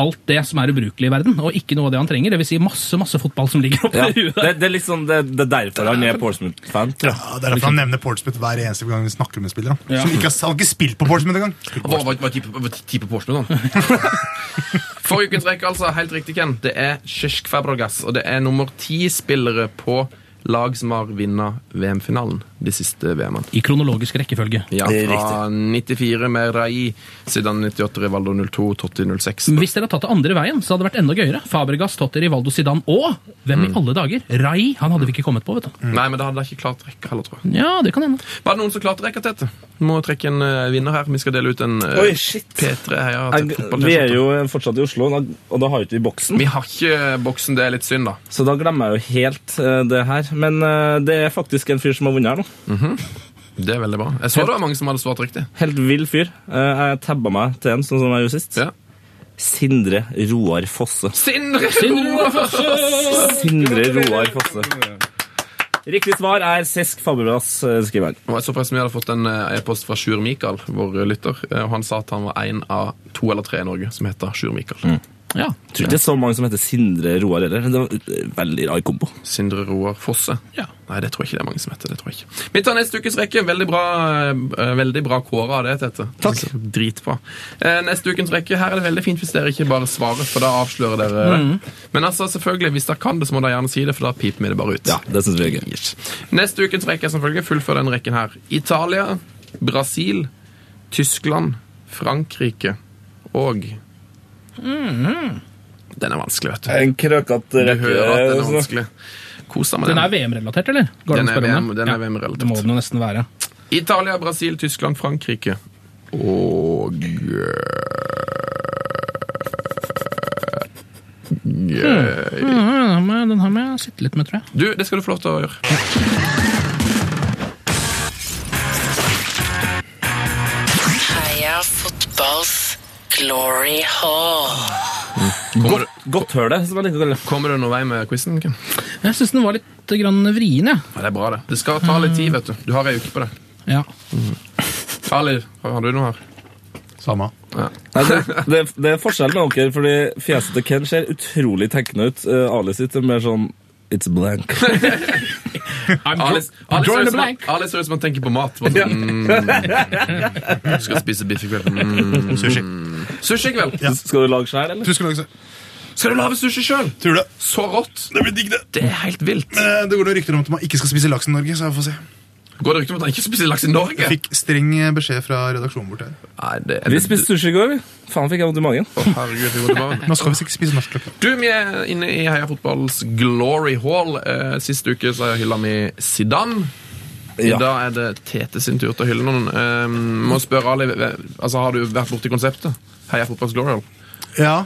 [SPEAKER 1] alt det som er ubrukelig i verden, og ikke noe av det han trenger. Det vil si masse, masse fotball som ligger oppe
[SPEAKER 5] Ja.
[SPEAKER 1] i huet.
[SPEAKER 5] Det, det, er liksom, det, det er derfor han er Portsmouth-fan.
[SPEAKER 6] Ja, det er derfor han nevner Portsmouth hver eneste gang vi snakker med spillere.
[SPEAKER 1] Ja.
[SPEAKER 6] Som ikke har, han har ikke spilt på Portsmouth engang.
[SPEAKER 2] Hva hva- hva type hva type Portsmouth, da? Forrige ukens rekke, altså. Helt riktig, Ken. Det er Kjørsk Fabregas. Og det er nummer ti-spillere på lag som har vunnet VM-finalen de siste VM-ene.
[SPEAKER 1] I kronologisk rekkefølge.
[SPEAKER 2] Ja,
[SPEAKER 5] Det er
[SPEAKER 2] fra 94 med Rai, siden 98 Rivaldo 02, Totti 06.
[SPEAKER 5] Mm.
[SPEAKER 1] Hvis dere hadde tatt det andre veien, så hadde det vært enda gøyere. Fabregas, Totti, Rivaldo, Zidane og hvem i alle dager? Rai. Han hadde vi ikke kommet på, vet du.
[SPEAKER 2] Nei, men det hadde jeg ikke klart å rekke heller, tror jeg.
[SPEAKER 1] Ja, det kan hende.
[SPEAKER 2] Var det noen som klarte å rekke tett? Må trekke en eh, vinner her. Vi skal dele ut en eh,
[SPEAKER 5] Oi, shit.
[SPEAKER 2] P3 Heia
[SPEAKER 5] Jeg,
[SPEAKER 2] Tett Fotball-T-skjorte.
[SPEAKER 5] vi er jo fortsatt i Oslo, og da har jo ikke vi boksen.
[SPEAKER 2] Vi har ikke boksen, det er litt synd, da.
[SPEAKER 5] Så da glemmer jeg jo helt eh, det her. Men eh, det er faktisk en fyr som har vunnet her nå.
[SPEAKER 2] Det er veldig bra. Jeg så det var mange som hadde svart riktig.
[SPEAKER 5] Helt vill fyr. Eh, Jeg tabba meg til en, sånn som jeg gjorde sist.
[SPEAKER 2] Ja.
[SPEAKER 5] Sindre Roar Fosse.
[SPEAKER 2] Sindre
[SPEAKER 1] Sindre Fosse!
[SPEAKER 5] Sindre Roar Fosse. Riktig svar er Sesk Fabregas, eh, skriver han.
[SPEAKER 2] Og jeg så forresten Vi hadde fått en eh, e-post fra Sjur Mikael, vår eh, lytter. eh, Og han sa at han var én av to eller tre i Norge som heter Sjur Mikael.
[SPEAKER 5] Mm.
[SPEAKER 1] Ja.
[SPEAKER 5] Tror ikke det er så mange som heter Sindre Roar heller. Det var eh, veldig rar kombo.
[SPEAKER 2] Sindre Roar Fosse.
[SPEAKER 1] Ja.
[SPEAKER 2] Nei, det tror jeg ikke det er mange som heter. det tror jeg ikke. Vi tar neste ukes rekke. Veldig bra, eh, veldig bra kåra av det, Tete. Takk. Dritbra. Eh, Neste ukens rekke. Her er det veldig fint hvis dere ikke bare svarer, for da avslører dere det. Men altså, selvfølgelig, hvis dere kan det, så må dere gjerne si det, for da piper vi det bare ut.
[SPEAKER 5] Ja, det syns vi er gøy.
[SPEAKER 2] Yes. Neste ukens rekke er som følger. Fullfør den rekken her. Italia, Brasil, Tyskland, Frankrike og Den er vanskelig, vet du.
[SPEAKER 5] En krøkete
[SPEAKER 2] Du hører at
[SPEAKER 5] altså.
[SPEAKER 2] den er vanskelig. Kos deg med
[SPEAKER 1] Den
[SPEAKER 2] den.
[SPEAKER 1] er VM-relatert, eller? Går det an
[SPEAKER 2] Den
[SPEAKER 1] å
[SPEAKER 2] er
[SPEAKER 1] spørre om
[SPEAKER 2] VM
[SPEAKER 1] det?
[SPEAKER 2] den er
[SPEAKER 1] Ja, Det må
[SPEAKER 2] VM-relatert.
[SPEAKER 1] den jo nesten være.
[SPEAKER 2] Italia, Brasil, Tyskland, Frankrike og
[SPEAKER 1] Ja, den har med- den har med jeg sittet litt med, tror jeg.
[SPEAKER 2] Du, det skal du få lov til å gjøre.
[SPEAKER 10] Heia fotballs glory hall.
[SPEAKER 2] Kommer du,
[SPEAKER 5] Godt hør det, som jeg liker å kalle det.
[SPEAKER 2] kommer du noen vei med quizen? Ken?
[SPEAKER 1] Jeg syns den var litt eh, grann vrien, jeg.
[SPEAKER 2] Ja, det er bra, det. Det skal ta litt tid, vet du. Du har ei uke på det.
[SPEAKER 1] Ja.
[SPEAKER 2] Ali, har har du noe her?
[SPEAKER 6] Samme.
[SPEAKER 5] Nei, det, det, det er forskjell med dere, fordi fjeset til Ken ser utrolig tenkende ut. Eh, Ali sitt er mer sånn It's blank.
[SPEAKER 1] I'm dro-
[SPEAKER 2] Alice, Alice,
[SPEAKER 1] drawing a
[SPEAKER 2] ser ut som han-
[SPEAKER 1] blank.
[SPEAKER 2] Alice ser ut som han tenker på mat. Bare sånn, mm, skal spise biff i kveld. Mm.
[SPEAKER 6] Sushi.
[SPEAKER 2] Sushi i kveld!
[SPEAKER 5] Skal du lage skjær, eller?
[SPEAKER 6] Du skal lage sushi.
[SPEAKER 2] Skal du lage sushi sjøl?
[SPEAKER 6] Tror det.
[SPEAKER 2] Så rått!
[SPEAKER 6] Det blir digg, det.
[SPEAKER 2] Det er helt vilt.
[SPEAKER 6] Eh, Det går noen rykter om at man ikke skal spise laks i Norge. så jeg får se.
[SPEAKER 2] Går det rykte om at han ikke spiser laks i Norge?
[SPEAKER 6] Fikk streng beskjed fra redaksjonen bort her.
[SPEAKER 2] Nei, det
[SPEAKER 5] Vi spiste sushi i går. vi. Faen, fikk jeg vondt i magen.
[SPEAKER 2] Å, herregud, vi går tilbake.
[SPEAKER 6] Man skal visst ikke spise norsk laks.
[SPEAKER 2] Du, vi er inne i Heia Fotballs Glory Hall. Eh, sist uke så hylla vi Zidane. I
[SPEAKER 5] Ja.
[SPEAKER 2] dag er det Tete sin tur til å hylle noen. Eh, må spørre Ali, eh, altså Har du vært borti konseptet? Heia Fotballs Glory Hall.
[SPEAKER 6] Ja,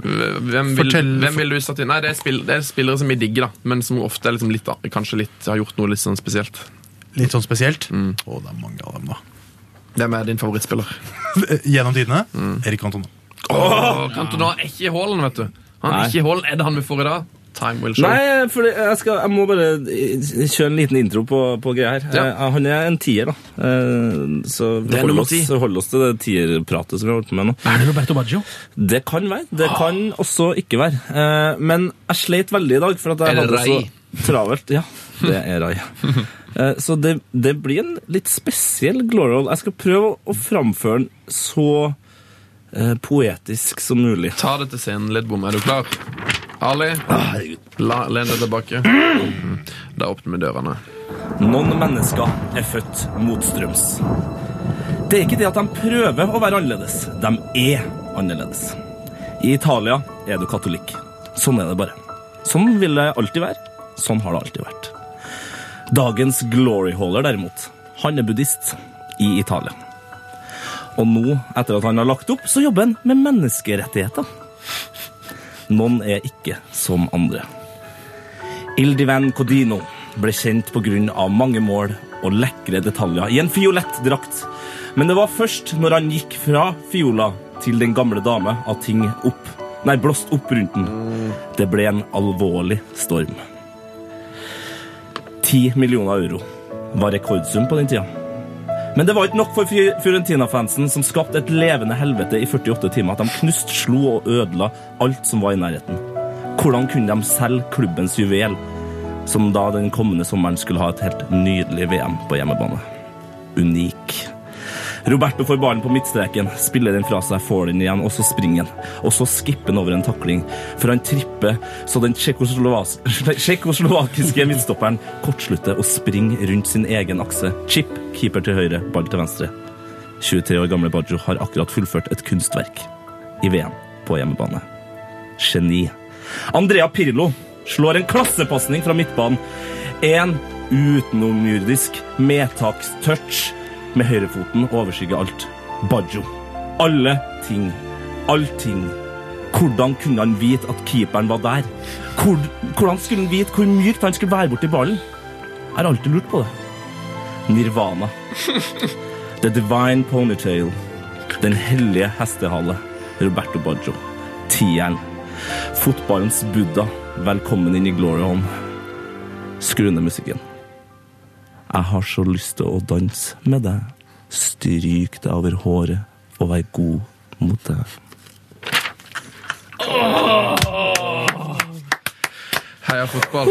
[SPEAKER 2] Hvem vil,
[SPEAKER 6] Fortell-
[SPEAKER 2] hvem vil du satt inn? Nei, det er, spill, det er spillere som vi digger, da. Men som ofte er liksom litt, da- kanskje litt, har gjort noe litt sånn spesielt.
[SPEAKER 6] Litt sånn spesielt. Å, det er mange av dem, da.
[SPEAKER 2] Hvem er din favorittspiller?
[SPEAKER 6] Gjennom tidene Erik Antona.
[SPEAKER 2] Åh, Cantona er ikke i hallen, vet du. Han er
[SPEAKER 5] Nei.
[SPEAKER 2] ikke i hallen. Er det han vi får i dag? Time will show.
[SPEAKER 5] Nei, for jeg, skal, jeg må bare eh, kjøre en liten intro på, på greia her.
[SPEAKER 2] Ja.
[SPEAKER 5] Eh, Han er en tier, da. Eh, Så
[SPEAKER 2] Det
[SPEAKER 5] vi
[SPEAKER 2] er
[SPEAKER 5] holder
[SPEAKER 2] nummer
[SPEAKER 5] oss,
[SPEAKER 2] ti.
[SPEAKER 5] holder oss til det tierpratet som vi har holdt på med nå.
[SPEAKER 1] Er det Roberto Baggio?
[SPEAKER 5] Det kan være. Det
[SPEAKER 2] Ah.
[SPEAKER 5] kan også ikke være. Eh, Men jeg sleit veldig i dag, for at
[SPEAKER 2] Er
[SPEAKER 5] jeg
[SPEAKER 2] det
[SPEAKER 5] hadde så
[SPEAKER 2] Rai?
[SPEAKER 5] travelt. Ja, det er rai. Eh, Så det, det blir en litt spesiell glory hole. Jeg skal prøve å- å framføre den så eh, poetisk som mulig.
[SPEAKER 2] Ta det til scenen, Lidbom. Er du klar? Ali, la, len deg tilbake. Da åpner vi dørene.
[SPEAKER 5] Noen mennesker er født motstrøms. Det er ikke det at de prøver å være annerledes. De er annerledes. I Italia er du katolikk. Sånn er det bare. Sånn vil det alltid være. Sånn har det alltid vært. Dagens gloryholder, derimot, han er buddhist i Italia. Og nå, etter at han har lagt opp, så jobber han med menneskerettigheter. Noen er ikke som andre. Ildivan Codino ble kjent pga. mange mål og lekre detaljer i en fiolett drakt. Men det var først når han gikk fra fiola til den gamle dame at ting opp, nei, blåst opp rundt den. Det ble en alvorlig storm. Ti millioner euro var rekordsum på den tida. Men det var ikke nok for Fi- Fiorentina-fansen, som skapte et levende helvete i 48 timer. At de knust, slo og ødela alt som var i nærheten. Hvordan kunne de selge klubbens juvel, som da den kommende sommeren skulle ha et helt nydelig VM på hjemmebane? Unik. Roberto får ballen på midtstreken, spiller den fra seg, får den igjen, og så springer han. Og så skipper han over en takling, for han tripper så den tjekkoslovas- tsjekkoslovakiske midtstopperen kortslutter og springer rundt sin egen akse. Chip, keeper til høyre, ball til venstre. 23 år gamle Baggio har akkurat fullført et kunstverk i VM på hjemmebane. Geni. Andrea Pirlo slår en klassepasning fra midtbanen. En utenomjordisk medtakstouch med høyrefoten overskygger alt. Baggio. Alle ting. Allting. Hvordan kunne han vite at keeperen var der? Hvor, hvordan skulle han vite hvor mykt han skulle være borti ballen? Jeg har alltid lurt på det. Nirvana. The Divine Ponytail. Den hellige hestehale. Roberto Baggio. Tieren. Fotballens Buddha. Velkommen inn i glory home. Skru ned musikken. Jeg har så lyst til å danse med deg. Stryk deg over håret og vær god mot deg.
[SPEAKER 2] Heia fotball.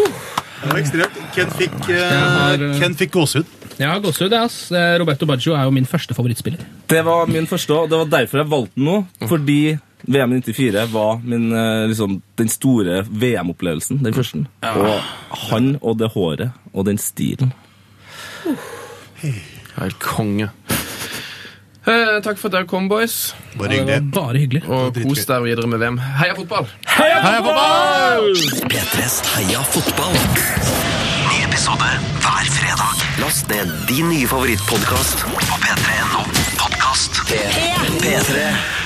[SPEAKER 6] Det var ekstremt. Ken fikk, eh,
[SPEAKER 1] Jeg har, eh,
[SPEAKER 6] Ken fikk gåsehud.
[SPEAKER 1] Jeg har gåsehud, jeg, ass. Eh, Roberto Baggio er jo min første favorittspiller.
[SPEAKER 5] Det var min første, og det var derfor jeg valgte den nå. Fordi VM i 94 var min, eh, liksom, den store VM-opplevelsen. Den første. Og han og det håret og den stilen.
[SPEAKER 2] Helt konge. Eh, takk for at dere kom, boys.
[SPEAKER 6] Bare
[SPEAKER 1] Det var
[SPEAKER 6] hyggelig.
[SPEAKER 1] bare hyggelig.
[SPEAKER 2] Og
[SPEAKER 6] Det var
[SPEAKER 2] kos dere videre med VM. Heia fotball!
[SPEAKER 6] Hei, pappa!
[SPEAKER 4] P3s Heia fotball. Ny episode hver fredag. Last ned din nye favorittpodkast på p3.no podkast. P3.